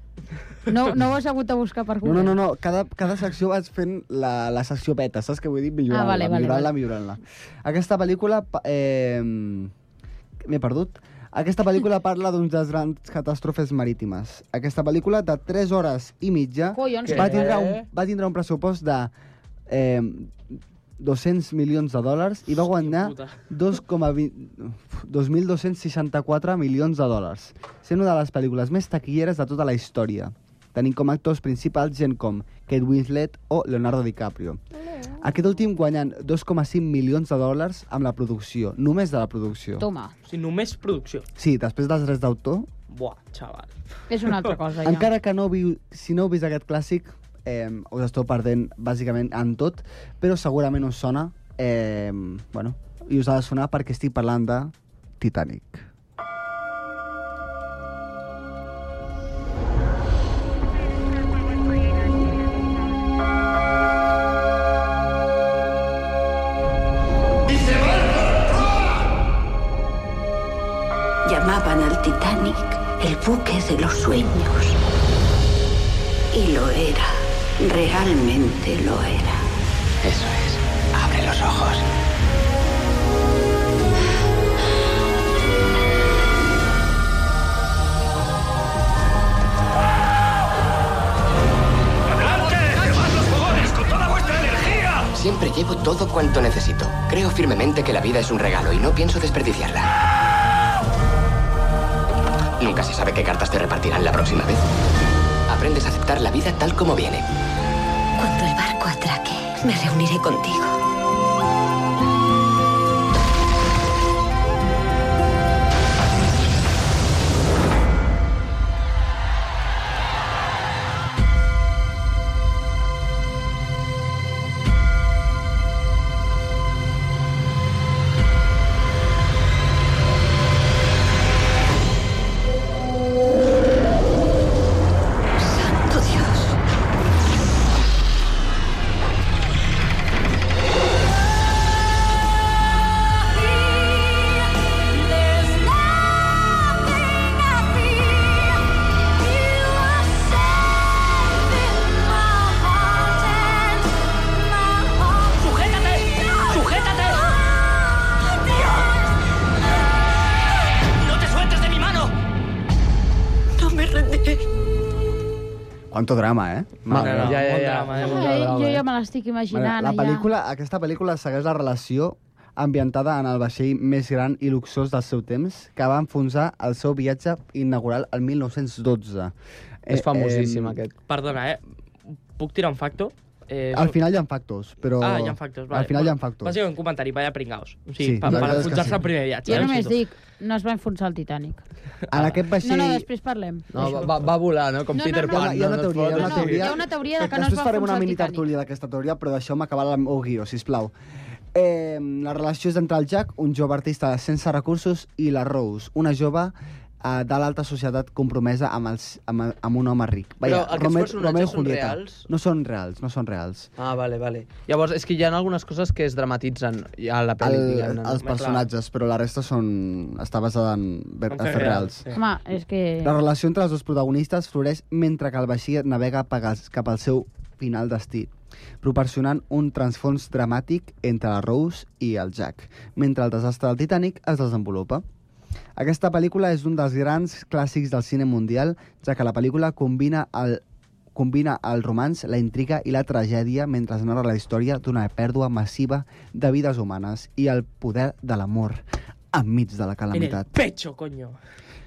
[SPEAKER 8] No, no ho has hagut de buscar per
[SPEAKER 7] No,
[SPEAKER 8] Google.
[SPEAKER 7] no, no, no. Cada, cada secció vas fent la, la secció peta, saps què vull dir? Millorant-la,
[SPEAKER 8] Ah, vale, vale,
[SPEAKER 7] millorant-la,
[SPEAKER 8] vale.
[SPEAKER 7] millorant-la. Aquesta pel·lícula... pa- Eh, M'he perdut. Aquesta pel·lícula parla d'uns de les grans catàstrofes marítimes. Aquesta pel·lícula, de 3 hores i mitja,
[SPEAKER 8] Collons, eh?
[SPEAKER 9] Què?
[SPEAKER 7] va
[SPEAKER 8] que-
[SPEAKER 7] tindre, un, va tindre un pressupost de eh, 200 milions de dòlars i va guanyar
[SPEAKER 6] puta.
[SPEAKER 7] 2,20 2.264 milions de dòlars, sent una de les pel·lícules més taquilleres de tota la història, tenint com a actors principals gent com Kate Winslet o Leonardo DiCaprio. Aquest últim guanyant 2,5 milions de dòlars amb la producció, només de la producció.
[SPEAKER 8] Toma,
[SPEAKER 6] O sigui, només producció.
[SPEAKER 7] Sí, després dels drets d'autor,
[SPEAKER 6] Buah, xaval.
[SPEAKER 8] és una altra cosa, ja.
[SPEAKER 7] Encara que no viu, si no heu vist aquest clàssic, eh, us esteu perdent bàsicament en tot, però segurament us sona, eh, bueno, i us ha de sonar perquè estic parlant de Titanic.
[SPEAKER 10] Llamaban al Titanic el buque de los sueños. Y lo era. Realmente lo era. Eso es. Abre los ojos.
[SPEAKER 11] Siempre llevo todo cuanto necesito. Creo firmemente que la vida es un regalo y no pienso desperdiciarla. Nunca se sabe qué cartas te repartirán la próxima vez. Aprendes a aceptar la vida tal como viene.
[SPEAKER 10] Cuando el barco atraque, me reuniré contigo. Santo Dios.
[SPEAKER 11] ¡No te sueltes de mi mano!
[SPEAKER 10] No me rendiré.
[SPEAKER 7] Quanto drama, eh?
[SPEAKER 9] Mare, no, ja, ja, ja.
[SPEAKER 6] Molt drama, eh?
[SPEAKER 9] Molt
[SPEAKER 8] Ai,
[SPEAKER 9] drama,
[SPEAKER 8] jo
[SPEAKER 9] eh?
[SPEAKER 8] ja me l'estic
[SPEAKER 7] Mare,
[SPEAKER 8] imaginant,
[SPEAKER 7] la
[SPEAKER 8] allà.
[SPEAKER 7] pel·lícula, aquesta pel·lícula segueix la relació ambientada en el vaixell més gran i luxós del seu temps, que va enfonsar el seu viatge inaugural el 1912. Eh,
[SPEAKER 9] És famosíssim, aquest.
[SPEAKER 6] Perdona, eh? Puc tirar un facto? Eh,
[SPEAKER 7] Al final hi ha factors, però...
[SPEAKER 6] Ah, hi ha factors. Vale.
[SPEAKER 7] Al final hi ha factors.
[SPEAKER 6] Bàsicament, un comentari, vaya pringaos. O
[SPEAKER 7] Sí,
[SPEAKER 6] sigui, sí, per,
[SPEAKER 7] la
[SPEAKER 6] per
[SPEAKER 7] veritat és que
[SPEAKER 6] enfonsar-se
[SPEAKER 7] sí.
[SPEAKER 6] al primer viatge.
[SPEAKER 8] Jo
[SPEAKER 6] eh? Ho
[SPEAKER 8] només
[SPEAKER 6] sento.
[SPEAKER 8] dic, no es va enfonsar el Titanic.
[SPEAKER 7] En aquest vaixell...
[SPEAKER 8] No, no, després parlem.
[SPEAKER 9] No, va, va, va volar, no? Com
[SPEAKER 8] No, no,
[SPEAKER 9] Peter
[SPEAKER 8] no.
[SPEAKER 9] Pan.
[SPEAKER 7] Hi ha, hi ha una
[SPEAKER 9] no,
[SPEAKER 7] teoria, hi ha una
[SPEAKER 8] No, no,
[SPEAKER 7] teoria...
[SPEAKER 8] hi ha una teoria de que no es
[SPEAKER 7] Després
[SPEAKER 8] va
[SPEAKER 7] farem una
[SPEAKER 8] enfonsar el
[SPEAKER 7] mini
[SPEAKER 8] Titanic.
[SPEAKER 7] tertúlia d'aquesta teoria, però deixeu-me acabar el meu guió, sisplau. Eh, la relació és entre el Jack, un jove artista sense recursos, i la Rose, una jove eh, de l'alta societat compromesa amb, els, amb, amb un home ric.
[SPEAKER 9] Però aquests personatges
[SPEAKER 7] Romeo i
[SPEAKER 9] són
[SPEAKER 7] Julieta.
[SPEAKER 9] reals?
[SPEAKER 7] No són reals, no són reals.
[SPEAKER 9] Ah, vale, vale. Llavors, és que hi ha algunes coses que es dramatitzen a la pel·li,
[SPEAKER 7] El,
[SPEAKER 9] diguem-ne. no?
[SPEAKER 7] els personatges, però la resta són... està basada en, ver- en fets reals.
[SPEAKER 6] Sí.
[SPEAKER 8] Home, és que...
[SPEAKER 7] La relació entre els dos protagonistes floreix mentre que el vaixell navega pa- cap al seu final destí, proporcionant un transfons dramàtic entre la Rose i el Jack, mentre el desastre del Titanic es desenvolupa. Aquesta pel·lícula és un dels grans clàssics del cine mundial, ja que la pel·lícula combina el, combina el romanç, la intriga i la tragèdia mentre es narra la història d'una pèrdua massiva de vides humanes i el poder de l'amor enmig de la
[SPEAKER 6] En el
[SPEAKER 7] calamitat.
[SPEAKER 6] pecho, coño.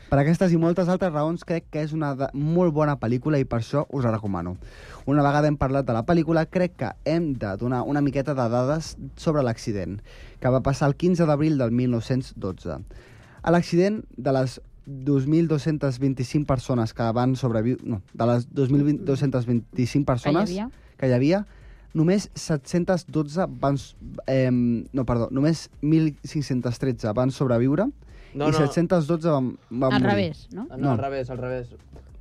[SPEAKER 7] Per aquestes i moltes altres raons crec que és una de molt bona pel·lícula i per això us la recomano. Una vegada hem parlat de la pel·lícula, crec que hem de donar una miqueta de dades sobre l'accident, que va passar el 15 d'abril del 1912. A l'accident de les 2.225 persones que van sobreviure... No, de les 2.225 persones
[SPEAKER 8] Que hi havia?
[SPEAKER 7] que hi havia, només 712 van... s- Eh, no, perdó, només 1.513 van sobreviure
[SPEAKER 9] No,
[SPEAKER 7] i
[SPEAKER 9] no.
[SPEAKER 7] 712 van, van
[SPEAKER 8] Al
[SPEAKER 7] morir.
[SPEAKER 8] revés, no?
[SPEAKER 9] No,
[SPEAKER 7] No.
[SPEAKER 9] al revés, al revés.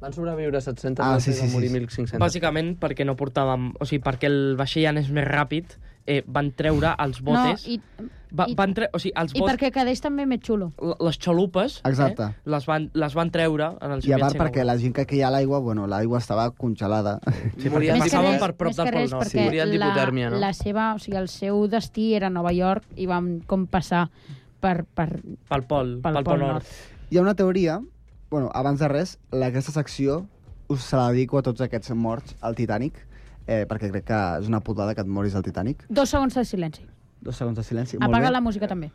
[SPEAKER 9] Van sobreviure 700
[SPEAKER 7] Ah,
[SPEAKER 9] ah,
[SPEAKER 7] sí,
[SPEAKER 9] sí,
[SPEAKER 7] sí,
[SPEAKER 9] van morir
[SPEAKER 7] sí.
[SPEAKER 9] 1.500.
[SPEAKER 6] Bàsicament perquè no portàvem... O sigui, perquè el vaixell anés més ràpid eh, van treure els botes...
[SPEAKER 8] No, i,
[SPEAKER 6] va,
[SPEAKER 8] i-
[SPEAKER 6] van tre... o sigui, els
[SPEAKER 8] i
[SPEAKER 6] botes...
[SPEAKER 8] perquè quedés també més xulo.
[SPEAKER 6] L- Les xalupes
[SPEAKER 7] Exacte.
[SPEAKER 6] eh, les, van, les van treure en el
[SPEAKER 7] I a part
[SPEAKER 6] Soviet
[SPEAKER 7] perquè la gent que queia a l'aigua, bueno, l'aigua estava congelada. [LAUGHS] Sí,
[SPEAKER 9] Moria de
[SPEAKER 7] perquè passaven
[SPEAKER 9] res,
[SPEAKER 7] per prop
[SPEAKER 8] Més
[SPEAKER 7] del
[SPEAKER 8] que
[SPEAKER 7] Pol
[SPEAKER 8] res
[SPEAKER 7] Nord.
[SPEAKER 8] perquè
[SPEAKER 7] Sí. Moria d'hipotèrmia,
[SPEAKER 8] la,
[SPEAKER 7] no?
[SPEAKER 8] la seva, o sigui, el seu destí era Nova York i vam com passar per, per,
[SPEAKER 6] Pel Pol, pel, pel Pol Nord.
[SPEAKER 7] Hi ha una teoria, bueno, abans de res, la- aquesta secció us se la dedico a tots aquests morts al Titanic, eh, perquè crec que és una putada que et moris al Titanic.
[SPEAKER 8] Dos segons de silenci.
[SPEAKER 7] Dos segons de silenci. molt
[SPEAKER 8] Apaga
[SPEAKER 7] bé.
[SPEAKER 8] la música també.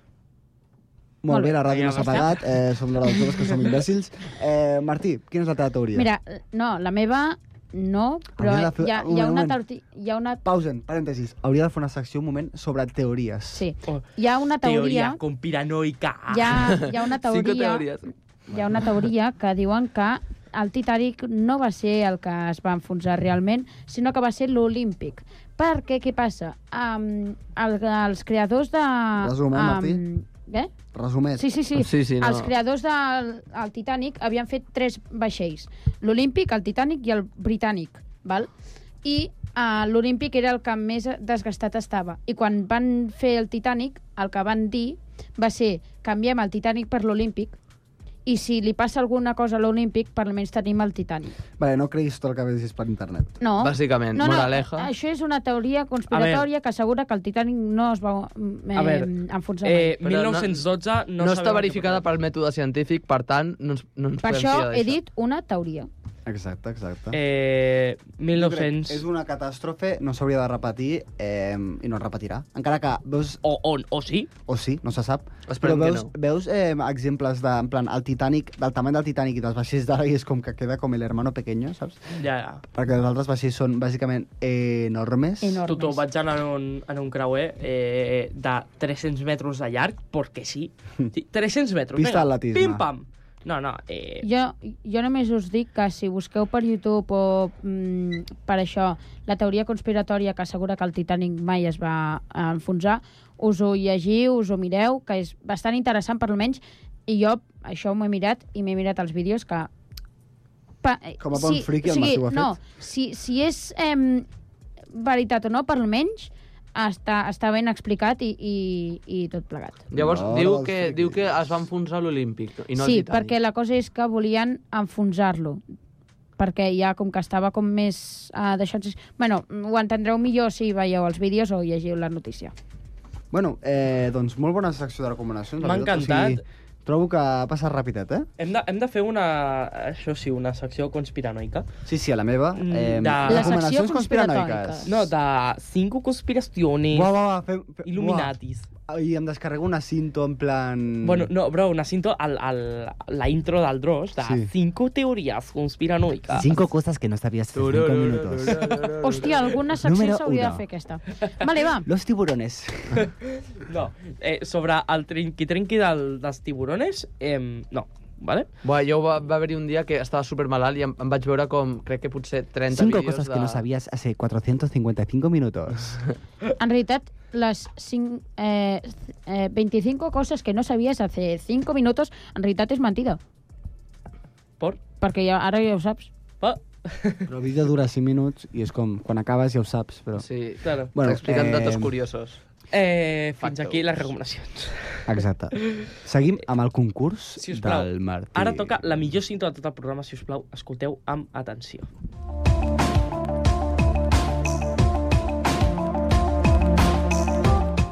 [SPEAKER 7] Molt bé, la ràdio
[SPEAKER 9] Vinga,
[SPEAKER 7] no s'ha
[SPEAKER 9] basta.
[SPEAKER 7] apagat, eh, som l'hora dels joves que som imbècils. Eh, Martí, quina és la teva teoria?
[SPEAKER 8] Mira, no, la meva no, però
[SPEAKER 7] Hauria de fer-
[SPEAKER 8] hi ha,
[SPEAKER 7] un
[SPEAKER 8] hi ha
[SPEAKER 7] moment,
[SPEAKER 8] una
[SPEAKER 7] un moment.
[SPEAKER 8] teoria... Hi ha una,
[SPEAKER 7] Pausen, parèntesis. Hauria de fer una secció un moment sobre teories.
[SPEAKER 8] Sí. hi ha una teoria...
[SPEAKER 6] Oh, conspiranoica. [LAUGHS]
[SPEAKER 8] Hi ha, hi ha
[SPEAKER 9] [LAUGHS]
[SPEAKER 8] una teoria... Hi ha una teoria que diuen que el Titanic no va ser el que es va enfonsar realment, sinó que va ser l'Olímpic. Perquè, què passa? Um, el, els creadors de...
[SPEAKER 7] Resum, eh, Martí?
[SPEAKER 8] Eh?
[SPEAKER 7] Resumet.
[SPEAKER 8] Sí, sí, sí. Els creadors del el Titanic havien fet tres vaixells. L'Olímpic, el Titanic i el Britànic. Val? I uh, l'Olímpic era el que més desgastat estava. I quan van fer el Titanic, el que van dir va ser canviem el Titanic per l'Olímpic i si li passa alguna cosa a l'Olímpic, per almenys tenim el Titanic.
[SPEAKER 7] Vale, no creguis tot el que vegis per internet.
[SPEAKER 8] No.
[SPEAKER 9] Bàsicament,
[SPEAKER 8] no, no,
[SPEAKER 9] moraleja.
[SPEAKER 8] Això és una teoria conspiratòria que assegura que el Titanic no es va eh,
[SPEAKER 9] A veure, Eh,
[SPEAKER 8] enfonsar mai.
[SPEAKER 6] eh,
[SPEAKER 9] Però no, no està
[SPEAKER 6] sabem
[SPEAKER 9] verificada pel mètode científic, per tant, no ens, no ens
[SPEAKER 8] Per
[SPEAKER 9] podem
[SPEAKER 8] això
[SPEAKER 9] fiar
[SPEAKER 8] he
[SPEAKER 9] d'això.
[SPEAKER 8] dit una teoria.
[SPEAKER 7] Exacte, exacte.
[SPEAKER 6] Eh, 1900.
[SPEAKER 7] És una catàstrofe, no s'hauria de repetir eh, i no es repetirà. Encara que veus...
[SPEAKER 6] O, o, o sí.
[SPEAKER 7] O sí, no se sap.
[SPEAKER 9] Esperem
[SPEAKER 7] Però
[SPEAKER 9] que
[SPEAKER 7] veus, veus eh, exemples de, en plan, el Titanic, del tamany del Titanic i dels vaixells d'ara i és com que queda com el hermano pequeño, saps?
[SPEAKER 6] Ja, ja.
[SPEAKER 7] Perquè els altres vaixells són bàsicament enormes.
[SPEAKER 6] Tu t'ho vaig anar en un, en un creuer eh, de 300 metres de llarg, perquè sí. sí 300 metres,
[SPEAKER 7] Pista d'atletisme.
[SPEAKER 6] pim-pam. No, no, eh,
[SPEAKER 8] Jo, jo només us dic que si busqueu per YouTube o mm, per això la teoria conspiratòria que assegura que el Titanic mai es va eh, enfonsar, us ho llegiu, us ho mireu, que és bastant interessant per almenys, i jo això m'ho he mirat i m'he mirat els vídeos que... Pa, eh,
[SPEAKER 7] Com a bon friki, el
[SPEAKER 8] o sigui,
[SPEAKER 7] Massiu ho ha fet.
[SPEAKER 8] no, Si, si és em, veritat o no, per almenys està, està ben explicat i, i, i tot plegat.
[SPEAKER 9] Llavors,
[SPEAKER 8] No,
[SPEAKER 9] diu,
[SPEAKER 8] dels
[SPEAKER 9] que, diu que es va enfonsar l'Olímpic i no
[SPEAKER 8] sí,
[SPEAKER 9] el Titanic.
[SPEAKER 8] perquè la cosa és que volien enfonsar-lo perquè ja com que estava com més uh, deixat... Bueno, ho entendreu millor si veieu els vídeos o llegiu la notícia.
[SPEAKER 7] Bueno, eh, doncs molt bona secció de recomanacions. la
[SPEAKER 6] M'ha
[SPEAKER 7] veritat.
[SPEAKER 6] encantat.
[SPEAKER 7] O sigui, trobo que passa rapidet, eh?
[SPEAKER 6] Hem de, hem de fer una, això sí, una secció conspiranoica.
[SPEAKER 7] Sí, sí, a la meva. Eh,
[SPEAKER 6] Mm, de...
[SPEAKER 7] recomanacions conspiranoiques.
[SPEAKER 6] No, de cinco conspiraciones
[SPEAKER 7] Buah, buah, buah, fem, fem,
[SPEAKER 6] Illuminatis.
[SPEAKER 7] Buah. Mm. I em descarrego una cinto en plan...
[SPEAKER 6] Bueno, no, bro, una cinto al, al, la intro del Dross de
[SPEAKER 7] Sí.
[SPEAKER 6] cinco teorías conspiranoicas.
[SPEAKER 12] Cinco cosas que no sabías hace cinco minutos.
[SPEAKER 8] Hòstia, alguna secció
[SPEAKER 12] Número
[SPEAKER 8] s'hauria
[SPEAKER 12] uno.
[SPEAKER 8] de fer aquesta. Vale, va.
[SPEAKER 7] Los tiburones.
[SPEAKER 6] No, eh, sobre el trenqui-trenqui del, dels tiburones, eh, no, vale?
[SPEAKER 9] Buah, jo va, va haver-hi un dia que estava super malalt i em, em vaig veure com, crec que potser 30
[SPEAKER 12] Cinco
[SPEAKER 9] vídeos
[SPEAKER 12] cosas
[SPEAKER 9] de...
[SPEAKER 12] que no sabías hace 455 minutos.
[SPEAKER 8] En realitat, les 5, eh, eh, 25 coses que no sabies hace 5 minutos, en realitat és mentida.
[SPEAKER 6] Por?
[SPEAKER 8] Perquè ja, ara ja ho saps.
[SPEAKER 7] Però el vídeo dura 5 minuts i és com, quan acabes ja ho saps, però...
[SPEAKER 9] Sí,
[SPEAKER 6] claro.
[SPEAKER 7] Bueno,
[SPEAKER 9] T'expliquen
[SPEAKER 7] eh,
[SPEAKER 9] datos curiosos.
[SPEAKER 6] Eh, fins aquí les recomanacions.
[SPEAKER 7] Exacte. Seguim amb el concurs
[SPEAKER 6] Si us plau,
[SPEAKER 7] del Martí.
[SPEAKER 6] ara toca la millor cinta de tot el programa, si us plau, escolteu amb atenció.
[SPEAKER 8] Oh,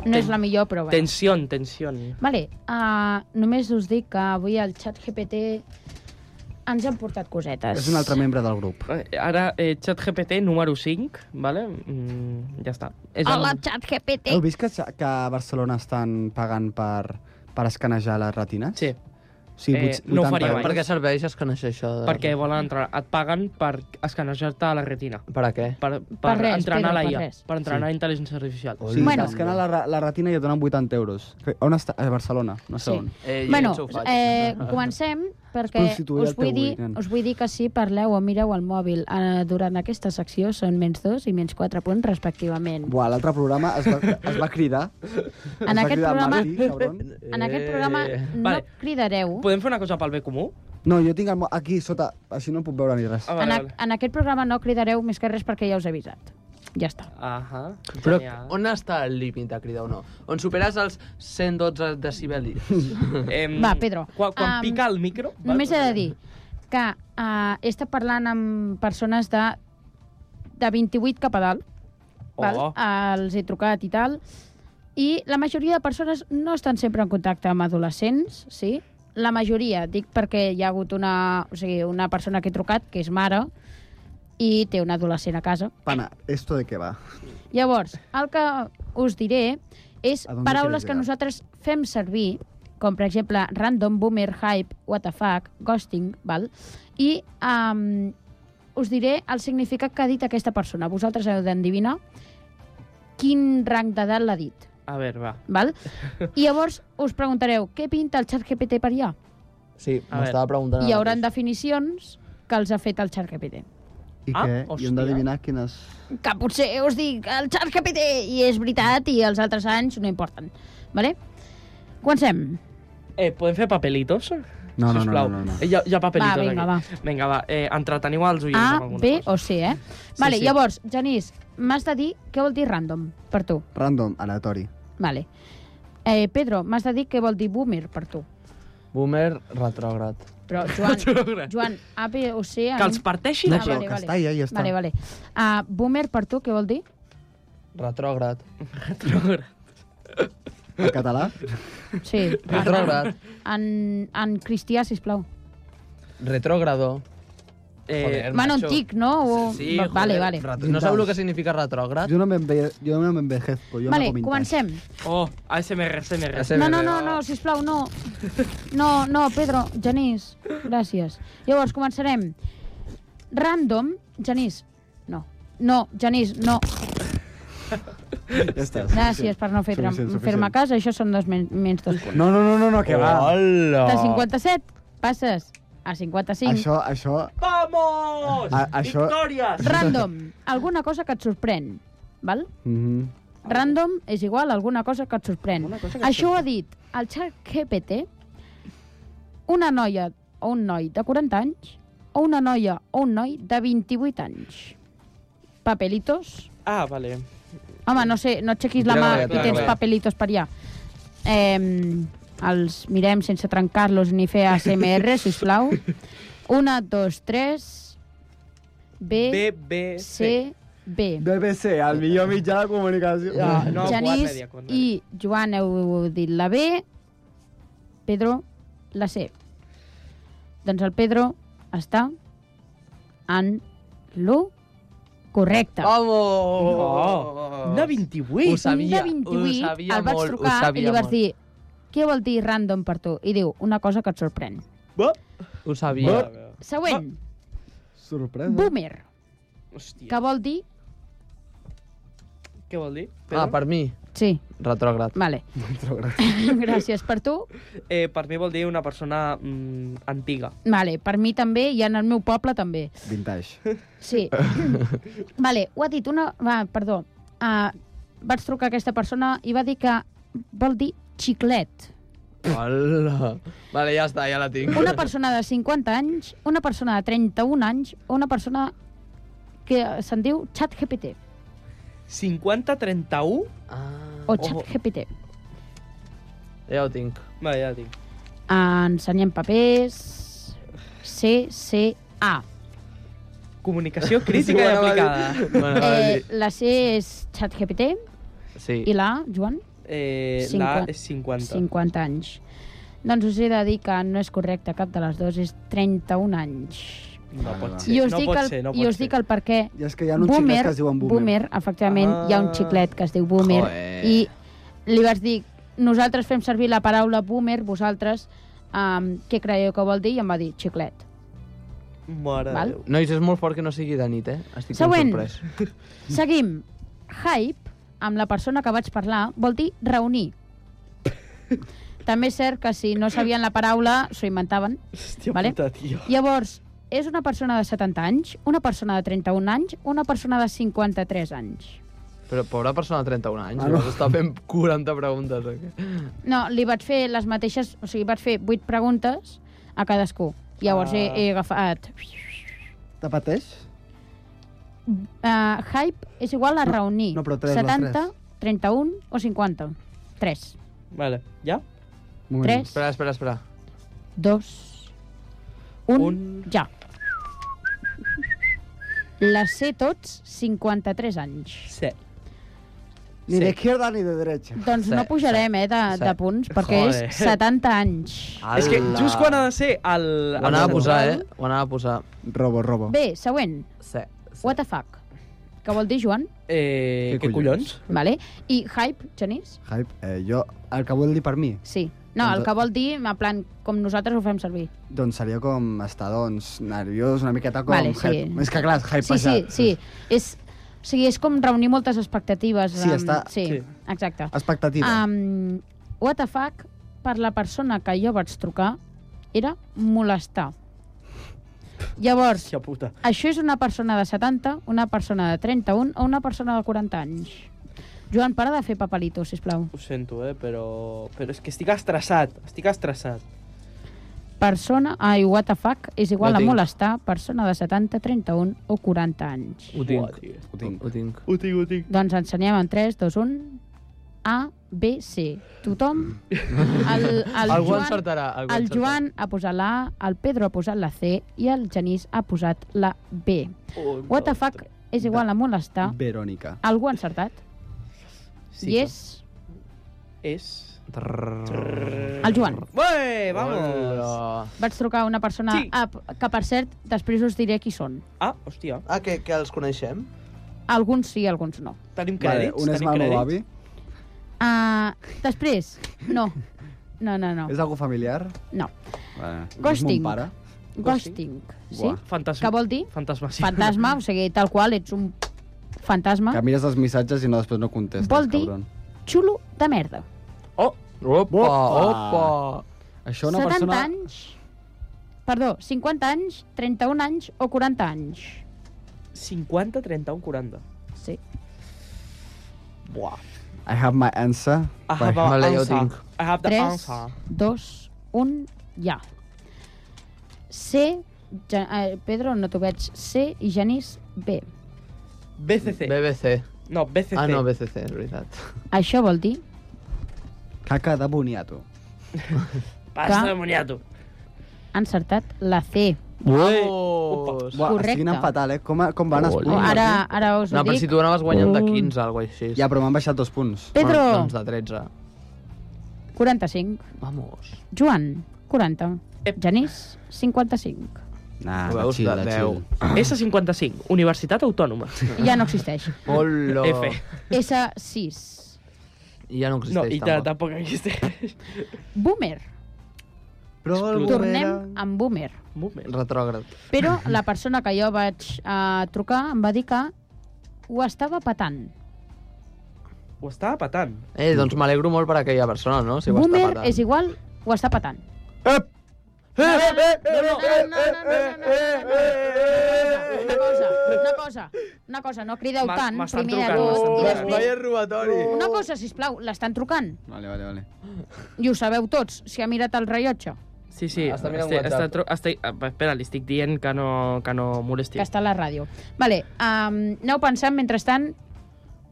[SPEAKER 8] No és la millor, però bueno.
[SPEAKER 6] Tensió, tensió.
[SPEAKER 8] Vale, uh, només us dic que avui el xat GPT ens han portat cosetes.
[SPEAKER 7] És un altre membre del grup.
[SPEAKER 6] Ara, eh, xat GPT número 5, vale? Mm, ja està. És el-
[SPEAKER 8] Hola, xat
[SPEAKER 6] Eh.
[SPEAKER 8] GPT!
[SPEAKER 7] Heu vist que, que a Barcelona estan pagant per, per escanejar les retines?
[SPEAKER 6] Sí.
[SPEAKER 7] Sí,
[SPEAKER 6] Eh,
[SPEAKER 7] vuit-
[SPEAKER 6] no ho
[SPEAKER 7] 80
[SPEAKER 6] faria mai.
[SPEAKER 7] euros.
[SPEAKER 6] Per què
[SPEAKER 9] serveix escanejar això? De...
[SPEAKER 6] Perquè volen entrar. Et paguen per escanejar-te a la retina.
[SPEAKER 9] Per a què?
[SPEAKER 6] Per, per,
[SPEAKER 7] Per res,
[SPEAKER 6] entrenar
[SPEAKER 7] Pedro,
[SPEAKER 6] la
[SPEAKER 7] per
[SPEAKER 6] IA.
[SPEAKER 7] res.
[SPEAKER 6] Per entrenar
[SPEAKER 7] Sí.
[SPEAKER 6] sí. intel·ligència artificial.
[SPEAKER 7] O sigui, bueno. escana la, ra- la retina i et donen 80 euros. Cre- On està? A Barcelona, no sé
[SPEAKER 8] Sí.
[SPEAKER 7] on.
[SPEAKER 8] bueno, eh, comencem perquè
[SPEAKER 7] prostituir
[SPEAKER 8] us
[SPEAKER 7] el
[SPEAKER 8] vull,
[SPEAKER 7] teu
[SPEAKER 8] dir,
[SPEAKER 7] weekend.
[SPEAKER 8] us vull dir que si parleu o mireu el mòbil eh, durant aquesta secció són menys 2 i menys 4 punts respectivament.
[SPEAKER 7] Buah, l'altre programa es va, es va cridar. es
[SPEAKER 8] En
[SPEAKER 7] va
[SPEAKER 8] aquest
[SPEAKER 7] cridar
[SPEAKER 8] programa-
[SPEAKER 7] Martí, cabron.
[SPEAKER 8] En aquest programa
[SPEAKER 9] Eh,
[SPEAKER 8] no
[SPEAKER 6] Eh, Vale.
[SPEAKER 8] cridareu.
[SPEAKER 6] Podem fer una cosa pel bé comú?
[SPEAKER 7] No, jo tinc el, mo- aquí sota, així no puc veure ni res.
[SPEAKER 8] en, a, en aquest programa no cridareu més que res perquè ja us he avisat. ja està.
[SPEAKER 6] Ahà.
[SPEAKER 9] Però
[SPEAKER 6] Genial.
[SPEAKER 9] on està el límit de cridar o no? On superes els 112 decibelis.
[SPEAKER 6] Em,
[SPEAKER 8] Va, Pedro.
[SPEAKER 6] Quan, quan
[SPEAKER 8] Am,
[SPEAKER 6] pica el micro...
[SPEAKER 8] Només he
[SPEAKER 6] doncs.
[SPEAKER 8] de dir que uh, he estat parlant amb persones de, de 28 cap a dalt. Val?
[SPEAKER 6] Oh.
[SPEAKER 8] Eh, els he trucat i tal. I la majoria de persones no estan sempre en contacte amb adolescents, sí? La majoria, dic perquè hi ha hagut una, o sigui, una persona que he trucat, que és mare, i té un adolescent a casa.
[SPEAKER 7] Pana, ¿esto de qué va?
[SPEAKER 8] Llavors, el que us diré és
[SPEAKER 7] A dónde quieres
[SPEAKER 8] paraules que
[SPEAKER 7] llegar?
[SPEAKER 8] nosaltres fem servir, com per exemple random, boomer, hype, what the fuck, ghosting, val? i um, us diré el significat que ha dit aquesta persona. Vosaltres heu d'endevinar quin rang d'edat l'ha dit.
[SPEAKER 6] A veure, va.
[SPEAKER 8] Val? I llavors us preguntareu, què pinta el xat GPT per allà?
[SPEAKER 7] Ah,
[SPEAKER 9] Sí,
[SPEAKER 6] A
[SPEAKER 9] m'ho
[SPEAKER 6] veure.
[SPEAKER 9] estava preguntant.
[SPEAKER 8] Hi hauran
[SPEAKER 7] doncs.
[SPEAKER 8] definicions que els ha fet el xat GPT.
[SPEAKER 7] I
[SPEAKER 6] Ah,
[SPEAKER 7] què? I hem d'adivinar quines...
[SPEAKER 8] Que potser us dic, el xat GPT, i és veritat, i els altres anys no importen. Vale? Comencem.
[SPEAKER 6] Eh, podem fer papelitos?
[SPEAKER 7] No, no, no,
[SPEAKER 6] Sisplau.
[SPEAKER 7] no, no, no.
[SPEAKER 6] Eh, hi, ha, hi ha papelitos
[SPEAKER 8] Va, vinga,
[SPEAKER 6] aquí. Va. Vinga, va. Eh, entreteniu els oients
[SPEAKER 8] A,
[SPEAKER 6] amb alguna
[SPEAKER 8] B o C, eh? Vale,
[SPEAKER 6] sí.
[SPEAKER 8] llavors, Genís, m'has de dir què vol dir random per tu.
[SPEAKER 7] Random, aleatori.
[SPEAKER 8] Vale. Eh, Pedro, m'has de dir què vol dir boomer per tu.
[SPEAKER 9] [LAUGHS] Boomer retrògrad. [LAUGHS]
[SPEAKER 8] Però, Joan, Joan A, B o C... a
[SPEAKER 9] Que
[SPEAKER 8] mi-
[SPEAKER 9] els parteixin,
[SPEAKER 8] Ah,
[SPEAKER 9] això,
[SPEAKER 8] vale,
[SPEAKER 9] que
[SPEAKER 8] vale.
[SPEAKER 9] està allà i ja està.
[SPEAKER 8] Vale, vale. Uh, boomer per tu, què vol dir?
[SPEAKER 9] Retrògrad.
[SPEAKER 7] En català?
[SPEAKER 8] Sí.
[SPEAKER 9] Retrògrad.
[SPEAKER 8] En, en cristià, sisplau.
[SPEAKER 9] Retrògrado.
[SPEAKER 6] Eh,
[SPEAKER 9] Joder,
[SPEAKER 8] Mano
[SPEAKER 9] macho.
[SPEAKER 8] antic, no? O...
[SPEAKER 9] Sí,
[SPEAKER 8] Va-
[SPEAKER 9] joder,
[SPEAKER 8] vale, vale.
[SPEAKER 9] retro- No sabeu el que significa retrògrad?
[SPEAKER 7] Jo no m'enve- jo no m'envejezco, jo
[SPEAKER 8] vale,
[SPEAKER 7] no comento.
[SPEAKER 8] comencem.
[SPEAKER 6] Oh, ASMR, ASMR.
[SPEAKER 8] No, no, no, no, sisplau, no. No, no, Pedro, Genís, gràcies. Llavors, començarem. Random, Genís, no. No, Genís, no.
[SPEAKER 7] Ja està.
[SPEAKER 8] Gràcies per no fer-
[SPEAKER 7] Suficient, suficient.
[SPEAKER 8] fer-me a casa. Això són dos men menys dos punts.
[SPEAKER 7] No, no, no, no, no que va.
[SPEAKER 9] Hola.
[SPEAKER 8] De 57 passes a 55.
[SPEAKER 7] Això, això...
[SPEAKER 6] Vamos!
[SPEAKER 7] A- això-
[SPEAKER 6] Victòries!
[SPEAKER 8] Random, alguna cosa que et sorprèn, val?
[SPEAKER 7] Mhm.
[SPEAKER 8] Random és igual a alguna cosa que et sorprèn.
[SPEAKER 7] que et
[SPEAKER 8] Això ho ha dit el xat GPT, una noia o un noi de 40 anys o una noia o un noi de 28 anys. Papelitos.
[SPEAKER 6] Ah, vale.
[SPEAKER 8] Home, no sé, no aixequis la
[SPEAKER 6] Tira
[SPEAKER 8] mà
[SPEAKER 6] la
[SPEAKER 8] i
[SPEAKER 6] galleta,
[SPEAKER 8] tens
[SPEAKER 6] tira la
[SPEAKER 8] papelitos per allà. Eh, els mirem sense trencar-los ni fer ASMR,
[SPEAKER 6] [LAUGHS]
[SPEAKER 8] sisplau. Una, dos, tres... B,
[SPEAKER 6] B, B,
[SPEAKER 8] C, B.
[SPEAKER 7] BBC, el millor mitjà de comunicació.
[SPEAKER 8] Ja,
[SPEAKER 6] no,
[SPEAKER 8] Genís
[SPEAKER 6] quadre, quadre.
[SPEAKER 8] i Joan heu dit la B, Pedro la C. Doncs el Pedro està en l'1 correcte.
[SPEAKER 9] Vamos!
[SPEAKER 6] Oh, una 28.
[SPEAKER 9] Ho sabia,
[SPEAKER 8] Un de 28,
[SPEAKER 9] ho sabia
[SPEAKER 8] el vaig
[SPEAKER 9] molt,
[SPEAKER 8] trucar
[SPEAKER 9] ho sabia
[SPEAKER 8] i li vas
[SPEAKER 9] molt.
[SPEAKER 8] dir què vol dir random per tu? I diu, una cosa que et sorprèn.
[SPEAKER 9] Ho sabia.
[SPEAKER 8] Següent,
[SPEAKER 9] Ah.
[SPEAKER 7] Sorpresa.
[SPEAKER 8] boomer,
[SPEAKER 6] Hòstia,
[SPEAKER 8] que vol dir...
[SPEAKER 6] què vol dir?
[SPEAKER 9] Ah, per mi.
[SPEAKER 8] Sí,
[SPEAKER 9] Retrògrad.
[SPEAKER 8] vale. [LAUGHS] Gràcies per tu.
[SPEAKER 6] Eh, per mi vol dir una persona mm, antiga.
[SPEAKER 8] Vale, per mi també i en el meu poble també.
[SPEAKER 7] Vintage.
[SPEAKER 8] Sí. vale, ho ha dit una... Va, perdó. Uh, vaig trucar a aquesta persona i va dir que vol dir xiclet.
[SPEAKER 9] Hola. Vale, ja està, ja la tinc.
[SPEAKER 8] Una persona de 50 anys, una persona de 31 anys o una persona que se'n diu xat GPT
[SPEAKER 6] 50-31?
[SPEAKER 9] Ah,
[SPEAKER 8] o xat GPT.
[SPEAKER 9] ja ho tinc.
[SPEAKER 6] Va, ja la tinc.
[SPEAKER 8] Ah, Ensenyem papers... CCA.
[SPEAKER 6] Comunicació
[SPEAKER 7] [LAUGHS]
[SPEAKER 6] crítica i
[SPEAKER 9] Bueno, va dir-
[SPEAKER 6] aplicada.
[SPEAKER 9] Bueno, va
[SPEAKER 8] Eh,
[SPEAKER 9] dir-
[SPEAKER 8] la C és xat GPT
[SPEAKER 9] sí.
[SPEAKER 8] i la A, Joan?
[SPEAKER 6] Eh, la A és 50.
[SPEAKER 8] 50 anys. Doncs us he de dir que no és correcte cap de les dues, és 31 anys.
[SPEAKER 6] No pot ser,
[SPEAKER 8] I us
[SPEAKER 6] no
[SPEAKER 8] dic
[SPEAKER 6] pot
[SPEAKER 8] el,
[SPEAKER 6] ser, no
[SPEAKER 8] i
[SPEAKER 6] pot
[SPEAKER 8] us
[SPEAKER 6] ser.
[SPEAKER 8] dic el per què.
[SPEAKER 7] I és que Ah. hi ha uns xiclets que es diuen boomer.
[SPEAKER 8] boomer efectivament, ah. hi ha un xiclet que es diu boomer.
[SPEAKER 9] Joder.
[SPEAKER 8] I li vas dir, nosaltres fem servir la paraula boomer, vosaltres um, què creieu que vol dir? I em va dir xiclet.
[SPEAKER 6] Mare
[SPEAKER 8] Val.
[SPEAKER 6] de Déu.
[SPEAKER 9] Nois, és molt fort que no sigui de nit, eh? Estic tan
[SPEAKER 8] Següent.
[SPEAKER 9] sorprès.
[SPEAKER 8] Seguim. Hype, amb la persona que vaig parlar, vol dir reunir. També és cert que si no sabien la paraula, s'ho inventaven.
[SPEAKER 6] Hòstia
[SPEAKER 8] Vale.
[SPEAKER 6] puta, tio.
[SPEAKER 8] Llavors, és una persona de 70 anys, una persona de 31 anys, una persona de 53 anys.
[SPEAKER 9] Però pobra persona de 31 anys,
[SPEAKER 7] Ah,
[SPEAKER 9] ah,
[SPEAKER 7] no.
[SPEAKER 9] no. està fent 40 preguntes. eh? o què?
[SPEAKER 8] No, li vaig fer les mateixes... O sigui, vaig fer 8 preguntes a cadascú. Llavors he, he agafat
[SPEAKER 7] Te pateix?
[SPEAKER 8] eh, hype és igual a reunir
[SPEAKER 6] no, però tres, les
[SPEAKER 8] 70, 31 o 50. 3,
[SPEAKER 6] Vale, ja?
[SPEAKER 8] Moment. Tres.
[SPEAKER 9] Espera, espera, espera.
[SPEAKER 8] 2, 1, ja. Les sé tots, 53 anys.
[SPEAKER 6] Sí.
[SPEAKER 7] Ni de izquierda ni de derecha.
[SPEAKER 8] Doncs no pujarem, eh, de, de punts, perquè
[SPEAKER 9] Joder.
[SPEAKER 8] és 70 anys.
[SPEAKER 6] És que just quan ha de ser el...
[SPEAKER 9] Ho
[SPEAKER 6] el
[SPEAKER 9] anava a posar, eh?
[SPEAKER 6] normal-
[SPEAKER 9] Ho anava a posar.
[SPEAKER 7] Robo, robo.
[SPEAKER 8] Bé, següent.
[SPEAKER 9] Sí.
[SPEAKER 8] What the fuck? Què vol dir, Joan?
[SPEAKER 6] Eh,
[SPEAKER 7] Què
[SPEAKER 6] què collons?
[SPEAKER 8] Vale. I hype, Genís?
[SPEAKER 7] Hype, eh, jo, el que vol dir per mi,
[SPEAKER 8] Sí. No, el que vol dir, en plan, com nosaltres ho fem servir.
[SPEAKER 7] doncs seria com estar, doncs, nerviós, una miqueta com...
[SPEAKER 8] Vale, sí.
[SPEAKER 7] hype. És que, clar, hype
[SPEAKER 8] Sí, sí, sí. És, o sigui, és com reunir moltes expectatives.
[SPEAKER 7] Sí,
[SPEAKER 8] amb-
[SPEAKER 7] està-
[SPEAKER 8] Sí,
[SPEAKER 7] sí.
[SPEAKER 8] exacte.
[SPEAKER 7] Expectativa.
[SPEAKER 8] Um, what the fuck, per la persona que jo vaig trucar, era molestar. Llavors,
[SPEAKER 6] Hòstia puta.
[SPEAKER 8] això és una persona de 70, una persona de 31 o una persona de 40 anys. Joan, para de fer papelito, sisplau.
[SPEAKER 6] Ho sento, eh, però... Però és que estic estressat, estic estressat.
[SPEAKER 8] Persona, ai, what the fuck, és igual
[SPEAKER 6] Ho
[SPEAKER 8] a
[SPEAKER 6] tinc.
[SPEAKER 8] molestar, persona de 70, 31 o 40 anys.
[SPEAKER 9] Ho tinc. Ho tinc. Ho tinc.
[SPEAKER 6] Ho tinc, ho tinc.
[SPEAKER 8] Doncs ensenyem en 3, 2, 1... A, B, C. Tothom? El, el
[SPEAKER 9] [LAUGHS] Algú
[SPEAKER 8] Joan,
[SPEAKER 9] encertarà, algú
[SPEAKER 8] el
[SPEAKER 9] encertarà.
[SPEAKER 8] Joan ha posat la A, el Pedro ha posat la C i el Genís ha posat la B.
[SPEAKER 9] Un,
[SPEAKER 8] What the fuck és igual a molestar.
[SPEAKER 7] Verònica.
[SPEAKER 8] Algú ha encertat?
[SPEAKER 6] Sí,
[SPEAKER 8] I és
[SPEAKER 6] És...
[SPEAKER 8] el Joan.
[SPEAKER 6] Ué, vamos!
[SPEAKER 8] Vaig trucar a una persona sí. a, que, per cert, després us diré qui són.
[SPEAKER 6] Ah, hòstia.
[SPEAKER 9] Ah, que, que els coneixem?
[SPEAKER 8] Alguns sí, alguns no.
[SPEAKER 6] Tenim
[SPEAKER 7] Vale, un és el meu avi,
[SPEAKER 8] Uh, després, no. No, no, no.
[SPEAKER 7] és algú familiar.
[SPEAKER 8] No.
[SPEAKER 7] Vale. És
[SPEAKER 8] Ghosting.
[SPEAKER 7] mon pare.
[SPEAKER 8] Ghosting. Sí?
[SPEAKER 7] Buah.
[SPEAKER 6] Fantasma.
[SPEAKER 8] Què vol dir?
[SPEAKER 6] Fantasma, sí. [LAUGHS]
[SPEAKER 8] Fantasma, o sigui, tal qual, ets un fantasma.
[SPEAKER 7] Que mires els missatges i no després no contestes,
[SPEAKER 8] Ah. Vol dir-
[SPEAKER 7] cabron.
[SPEAKER 8] Xulo de merda.
[SPEAKER 9] Oh, Opa,
[SPEAKER 7] Opa.
[SPEAKER 9] opa.
[SPEAKER 7] Això una
[SPEAKER 8] 70
[SPEAKER 7] persona...
[SPEAKER 8] anys... Perdó, 50 anys, 31 anys o 40 anys.
[SPEAKER 6] 50, 31, 40.
[SPEAKER 8] Sí.
[SPEAKER 6] Buah.
[SPEAKER 7] I have my answer.
[SPEAKER 6] I have a
[SPEAKER 9] Vale, jo
[SPEAKER 6] answer.
[SPEAKER 9] tinc.
[SPEAKER 6] I have the
[SPEAKER 8] 3,
[SPEAKER 6] answer.
[SPEAKER 8] 2, 1, ja. C, ja, eh, Pedro, no t'ho veig. C i Genís, B.
[SPEAKER 6] BCC.
[SPEAKER 9] BBC.
[SPEAKER 6] No, BCC.
[SPEAKER 9] Ah, no, BCC, és veritat.
[SPEAKER 8] Això vol dir
[SPEAKER 7] Caca de boniato.
[SPEAKER 6] Pasta
[SPEAKER 8] Ca-
[SPEAKER 6] de moniato.
[SPEAKER 8] ha encertat la C.
[SPEAKER 9] Vamos!
[SPEAKER 7] Buah,
[SPEAKER 8] Correcte.
[SPEAKER 7] estic anant fatal, eh? Com, com van els
[SPEAKER 8] Oh,
[SPEAKER 7] punts?
[SPEAKER 8] ara, ara us ho
[SPEAKER 9] No, però
[SPEAKER 8] dic.
[SPEAKER 9] si tu anaves guanyant de
[SPEAKER 7] Un.
[SPEAKER 9] 15, alguna cosa així.
[SPEAKER 7] Ja, però m'han baixat dos punts.
[SPEAKER 8] Pedro,
[SPEAKER 9] Bueno, doncs de 13.
[SPEAKER 8] 45.
[SPEAKER 9] Vamos.
[SPEAKER 8] Joan, 40. Genís, 55.
[SPEAKER 7] Nah,
[SPEAKER 9] Ho
[SPEAKER 7] la
[SPEAKER 9] veus?
[SPEAKER 7] chill,
[SPEAKER 9] De
[SPEAKER 7] la
[SPEAKER 9] 10.
[SPEAKER 7] chill.
[SPEAKER 6] S55, Universitat Autònoma.
[SPEAKER 9] [LAUGHS]
[SPEAKER 8] Ja no existeix.
[SPEAKER 9] Hola.
[SPEAKER 6] F.
[SPEAKER 8] S6.
[SPEAKER 9] I ja no
[SPEAKER 6] No,
[SPEAKER 9] existeix,
[SPEAKER 6] i ta- tampoc existeix.
[SPEAKER 8] Boomer.
[SPEAKER 7] Però el
[SPEAKER 8] Tornem amb Boomer.
[SPEAKER 6] Moment.
[SPEAKER 9] Retrògrad.
[SPEAKER 8] Però la persona que jo vaig eh, trucar em va dir que ho estava patant.
[SPEAKER 6] Ho estava patant.
[SPEAKER 9] Eh, doncs m'alegro molt per aquella persona, no? Si ho està
[SPEAKER 8] Boomer
[SPEAKER 9] patant.
[SPEAKER 8] és igual, ho està patant. Una cosa, una cosa, una cosa, no crideu
[SPEAKER 6] M'ha-
[SPEAKER 8] tant,
[SPEAKER 6] m'estan
[SPEAKER 8] primer de
[SPEAKER 6] trucant,
[SPEAKER 8] tot, i
[SPEAKER 6] m'estan
[SPEAKER 8] després...
[SPEAKER 9] robatori.
[SPEAKER 8] Una cosa, sisplau, l'estan trucant.
[SPEAKER 7] Vale, vale, vale.
[SPEAKER 8] I ho sabeu tots, si ha mirat el rellotge,
[SPEAKER 6] Sí, sí.
[SPEAKER 9] Està mirant
[SPEAKER 6] este-
[SPEAKER 9] WhatsApp.
[SPEAKER 6] està tro- està- ah, espera, li estic dient que no, que no molesti.
[SPEAKER 8] que està a la ràdio. Vale, um, aneu pensant, mentrestant,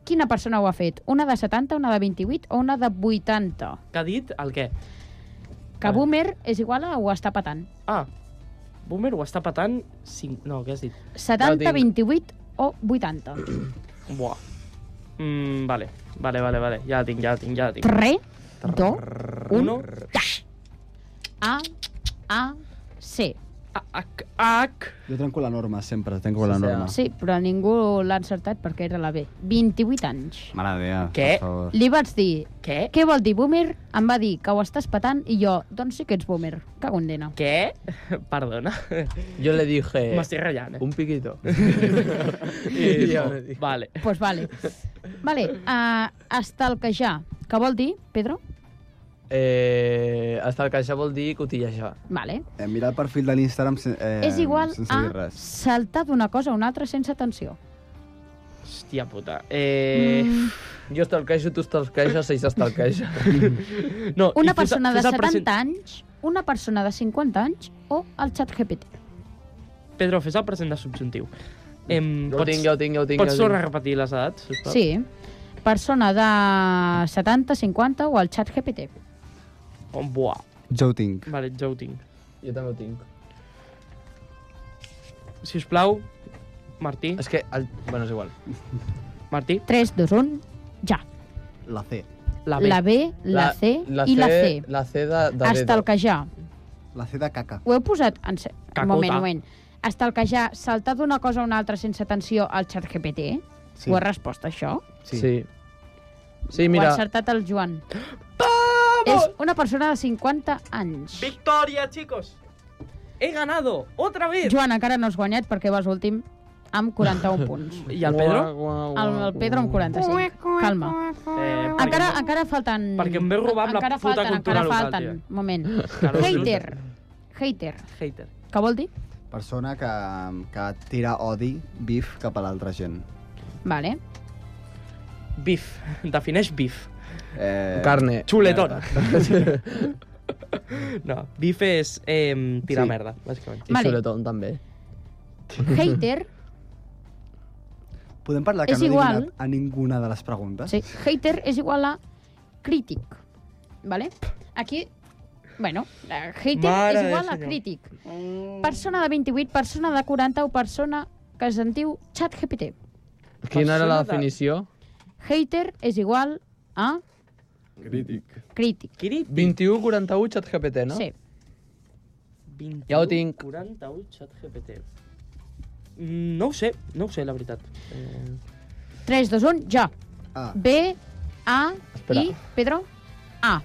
[SPEAKER 8] quina persona ho ha fet? Una de 70, una de 28 o una de 80?
[SPEAKER 6] Que ha dit el què?
[SPEAKER 8] Que
[SPEAKER 6] Vale.
[SPEAKER 8] boomer és igual a ho està patant.
[SPEAKER 6] Ah, Boomer ho està patant... Cinc... No, què has dit?
[SPEAKER 8] 70,
[SPEAKER 9] Ja ho tinc.
[SPEAKER 8] 28 o 80?
[SPEAKER 6] Buah. Mm, vale, vale, vale, vale. Ja la tinc, ja la tinc, ja la tinc.
[SPEAKER 8] 3, 2, 1,
[SPEAKER 6] Uno.
[SPEAKER 8] A, A, C.
[SPEAKER 6] H, H.
[SPEAKER 7] Jo trenco la norma, sempre trenco
[SPEAKER 9] Sí,
[SPEAKER 7] la
[SPEAKER 9] sí.
[SPEAKER 7] norma.
[SPEAKER 8] Sí, però ningú l'ha encertat perquè era la B. 28 anys.
[SPEAKER 7] Mare de Déu,
[SPEAKER 6] Què?
[SPEAKER 7] per favor.
[SPEAKER 8] Li vaig dir,
[SPEAKER 6] Què?
[SPEAKER 8] què vol dir boomer? Em va dir que ho estàs patant i jo, doncs sí que ets boomer. Cago en dena.
[SPEAKER 6] Què? [LAUGHS] Perdona.
[SPEAKER 9] Jo le dije...
[SPEAKER 6] M'estic ratllant, eh?
[SPEAKER 9] Eh. Un piquito.
[SPEAKER 6] Eh,
[SPEAKER 9] Ja
[SPEAKER 6] no.
[SPEAKER 9] ho dic.
[SPEAKER 6] Vale.
[SPEAKER 8] Doncs pues vale. Vale, uh, estalquejar. Què vol dir, Pedro?
[SPEAKER 9] Eh, hasta el caixa vol dir cotillejar.
[SPEAKER 8] Vale.
[SPEAKER 7] Eh, mira el perfil de l'Instagram sen- eh,
[SPEAKER 8] és igual
[SPEAKER 7] sense dir
[SPEAKER 8] a
[SPEAKER 7] res.
[SPEAKER 8] saltar d'una cosa a una altra sense tensió.
[SPEAKER 6] Hòstia puta. Eh...
[SPEAKER 8] Mm.
[SPEAKER 9] Jo estar al caixa, tu estar al caixa, seis estar al caixa.
[SPEAKER 6] [LAUGHS] No, i
[SPEAKER 8] Mm, Una
[SPEAKER 6] fes-
[SPEAKER 8] persona de
[SPEAKER 6] fes el
[SPEAKER 8] 70
[SPEAKER 6] present-
[SPEAKER 8] anys, una persona de 50 anys o el xat GPT.
[SPEAKER 6] Pedro, fes el present de subjuntiu. Em,
[SPEAKER 9] Jo ho tinc, jo ho tinc, jo ho tinc,
[SPEAKER 6] Pots
[SPEAKER 9] jo ho tinc.
[SPEAKER 6] tornar a repetir les edats? sisplau?
[SPEAKER 8] Sí. Persona de 70, 50 o el xat GPT.
[SPEAKER 6] Oh, buah.
[SPEAKER 7] Jo ho tinc.
[SPEAKER 6] Vale, jo ho tinc.
[SPEAKER 9] Jo també ho tinc.
[SPEAKER 6] Si us plau, Martí.
[SPEAKER 9] És que... El... Bueno, és igual.
[SPEAKER 6] Martí.
[SPEAKER 8] 3, 2, 1, ja.
[SPEAKER 12] La C.
[SPEAKER 8] La B, la, C i la C.
[SPEAKER 9] La C de, de
[SPEAKER 8] Hasta el
[SPEAKER 9] dedo.
[SPEAKER 8] que ja.
[SPEAKER 12] La C de caca.
[SPEAKER 8] Ho heu posat... En... se-
[SPEAKER 9] Cacota.
[SPEAKER 8] Un moment, un moment. Hasta el que ja saltar d'una cosa a una altra sense atenció al xat GPT.
[SPEAKER 9] Sí.
[SPEAKER 8] Ho ha respost, això?
[SPEAKER 9] Sí. Sí,
[SPEAKER 8] Ho ha
[SPEAKER 9] mira...
[SPEAKER 8] encertat el Joan. És una persona de 50 anys.
[SPEAKER 6] Victòria, chicos! He ganado! Otra vez!
[SPEAKER 8] Joan, encara no has guanyat perquè vas últim amb
[SPEAKER 6] [LAUGHS]
[SPEAKER 8] 41 punts.
[SPEAKER 6] I el Pedro?
[SPEAKER 8] El, el Pedro amb 45. Calma.
[SPEAKER 6] Eh,
[SPEAKER 8] Ah, Encara, encara falten...
[SPEAKER 6] perquè em ve robant la
[SPEAKER 8] encara
[SPEAKER 6] puta
[SPEAKER 8] falten,
[SPEAKER 6] cultura
[SPEAKER 8] encara
[SPEAKER 6] local,
[SPEAKER 8] falten.
[SPEAKER 6] tio.
[SPEAKER 8] Un moment.
[SPEAKER 6] Claro,
[SPEAKER 8] Hater. Hater.
[SPEAKER 6] Hater.
[SPEAKER 8] Què vol dir?
[SPEAKER 12] Persona que, que tira odi, bif, cap a l'altra gent.
[SPEAKER 8] Vale.
[SPEAKER 6] Beef. [LAUGHS] Defineix beef.
[SPEAKER 12] Eh...
[SPEAKER 9] Carne.
[SPEAKER 6] Xuletón. [LAUGHS] no, beef és eh, tirar
[SPEAKER 9] Sí.
[SPEAKER 6] sí. merda, bàsicament.
[SPEAKER 9] I
[SPEAKER 8] Vale.
[SPEAKER 9] xuletón, també.
[SPEAKER 8] Hater
[SPEAKER 12] Podem parlar que
[SPEAKER 8] És
[SPEAKER 12] no he
[SPEAKER 8] igual.
[SPEAKER 12] adivinat a ninguna de les preguntes?
[SPEAKER 8] Sí, hater és igual a crític, ¿vale? Aquí, bueno, eh, hater
[SPEAKER 12] Mare
[SPEAKER 8] és igual
[SPEAKER 12] de
[SPEAKER 8] a
[SPEAKER 12] senyor.
[SPEAKER 8] crític. Persona de 28, persona de 40 o persona que es en diu ChatGPT.
[SPEAKER 9] Quina era la
[SPEAKER 8] Persona de-
[SPEAKER 9] definició?
[SPEAKER 8] Hater és igual a
[SPEAKER 9] Crític.
[SPEAKER 8] crític.
[SPEAKER 6] Crític.
[SPEAKER 9] 21-41 xat GPT, no?
[SPEAKER 8] Sí.
[SPEAKER 9] Ja ho tinc.
[SPEAKER 6] 41 xat GPT. Mm, No ho sé, no ho sé, la veritat. Eh,
[SPEAKER 8] 3, 2, 1, ja.
[SPEAKER 6] Ah.
[SPEAKER 8] B, A
[SPEAKER 6] Espera.
[SPEAKER 8] i, Pedro, A.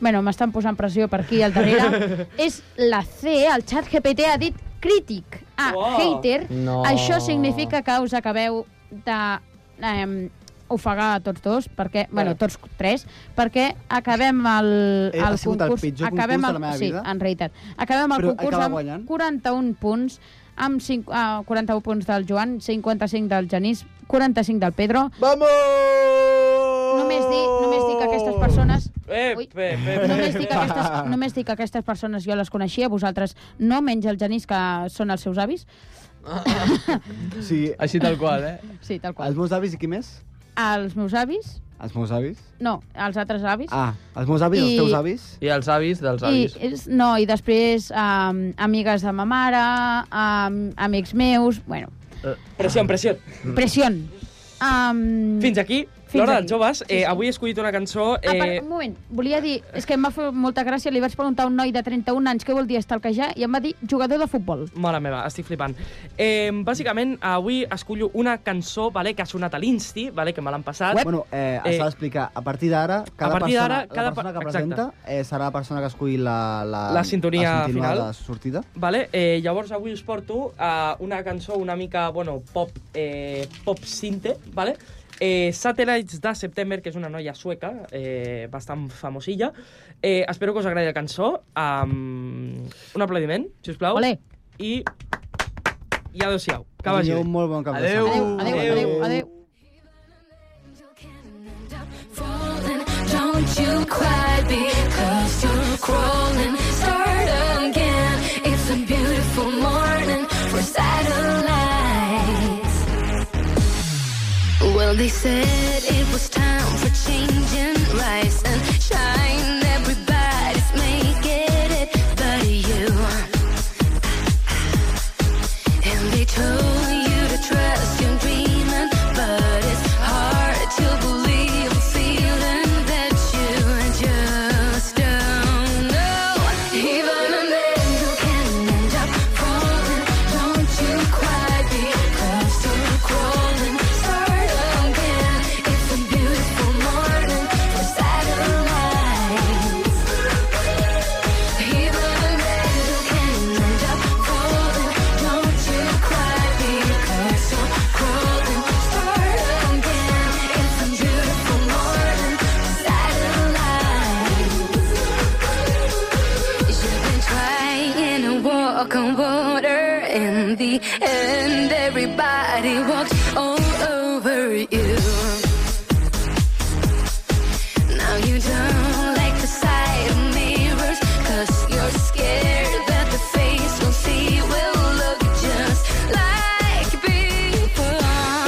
[SPEAKER 8] Bueno, m'estan posant pressió per aquí al
[SPEAKER 12] [LAUGHS]
[SPEAKER 8] darrere. és la C, el xat GPT ha dit crític. A,
[SPEAKER 13] Uau.
[SPEAKER 8] hater.
[SPEAKER 13] No.
[SPEAKER 8] Això significa que us acabeu de... Eh, ofegar a tots dos, perquè, bueno, tots tres, perquè acabem el,
[SPEAKER 12] Eh,
[SPEAKER 8] el
[SPEAKER 12] ha sigut el
[SPEAKER 8] concurs...
[SPEAKER 12] pitjor concurs
[SPEAKER 8] acabem
[SPEAKER 12] de
[SPEAKER 8] el-
[SPEAKER 12] la meva
[SPEAKER 8] sí,
[SPEAKER 12] vida.
[SPEAKER 8] en realitat. Acabem el
[SPEAKER 12] Però
[SPEAKER 8] concurs
[SPEAKER 12] acaba
[SPEAKER 8] amb
[SPEAKER 12] guanyant.
[SPEAKER 8] 41 punts, amb cinc, uh, 41 punts del Joan, 55 del Genís, 45 del Pedro.
[SPEAKER 9] Vamos!
[SPEAKER 8] Només dir, només dir que aquestes persones...
[SPEAKER 6] Eh,
[SPEAKER 8] Ui,
[SPEAKER 6] eh, eh,
[SPEAKER 8] només dic, aquestes,
[SPEAKER 12] [LAUGHS]
[SPEAKER 8] només dic que aquestes persones jo les coneixia, vosaltres no, menys el Genís, que són els seus avis.
[SPEAKER 12] sí.
[SPEAKER 9] Així tal qual, eh?
[SPEAKER 8] Sí, tal qual.
[SPEAKER 12] Els meus avis i qui més?
[SPEAKER 8] Els meus avis,
[SPEAKER 12] Els meus avis?
[SPEAKER 8] no, els altres avis.
[SPEAKER 12] Ah, els meus avis, I...
[SPEAKER 8] I-
[SPEAKER 12] els teus avis?
[SPEAKER 9] I els avis dels
[SPEAKER 8] I, és, no, i després um, amigues de ma mare, um, amics meus, bueno,
[SPEAKER 6] Pressió, pressió.
[SPEAKER 9] Mm.
[SPEAKER 8] pressió. Um,
[SPEAKER 6] Fins aquí,
[SPEAKER 8] Fins
[SPEAKER 6] l'hora
[SPEAKER 8] aquí.
[SPEAKER 6] dels joves. Eh, avui he escollit una cançó...
[SPEAKER 8] Ah, per,
[SPEAKER 6] Eh,
[SPEAKER 8] un moment, volia dir... És que em va fer molta gràcia, li vaig preguntar a un noi de 31 anys què vol dir estalquejar i em va dir jugador de futbol.
[SPEAKER 6] Mare meva, estic flipant. Eh, bàsicament, avui escollo una cançó vale, que ha sonat a l'Insti, vale, que me l'han passat.
[SPEAKER 12] Bueno, eh, eh, s'ha d'explicar. A partir d'ara, cada,
[SPEAKER 6] partir
[SPEAKER 12] persona,
[SPEAKER 6] d'ara, cada
[SPEAKER 12] la persona
[SPEAKER 6] pa-
[SPEAKER 12] que
[SPEAKER 6] exacte.
[SPEAKER 12] presenta eh, serà la persona que esculli la, la,
[SPEAKER 6] La sintonia
[SPEAKER 12] la sintonia
[SPEAKER 6] final.
[SPEAKER 12] de sortida.
[SPEAKER 6] Vale, eh, llavors avui us porto a una cançó una mica, bueno, pop, eh, pop sinte, vale? Eh, Satellites de September, que és una noia sueca, eh, bastant famosilla. Eh, espero que us agradi la cançó. Um, un aplaudiment, si us plau.
[SPEAKER 8] Olé.
[SPEAKER 6] I... I adeu-siau. Que vagi
[SPEAKER 12] Tingueu
[SPEAKER 6] bé.
[SPEAKER 12] un molt bon cap de
[SPEAKER 6] Adeu.
[SPEAKER 12] setmana. Eh,
[SPEAKER 6] Adeu, adeu, adeu, adeu.
[SPEAKER 13] Don't you cry because you're crawling. Start again. It's a beautiful morning for satellites. Well, they said it was time for change and rise and shine. Everybody's making it, but you. And they told you to trust your dreaming, but it's hard to believe the feeling that you just don't know. Even an angel can end up falling. Don't you cry because you're crawling. Start again. It's a beautiful morning for satellites. Even an angel can end up falling. Don't you cry because you're crawling. Start again. It's a beautiful morning for satellites. You've been trying to walk on water. In the end, everybody walked all over you. Now you don't like the sight of mirrors, cause you're scared that the face you'll see will look just like before.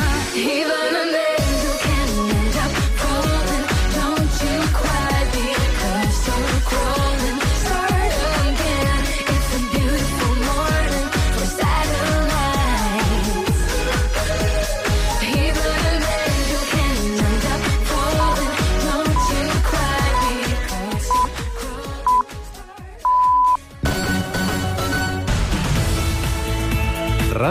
[SPEAKER 1] Ràdio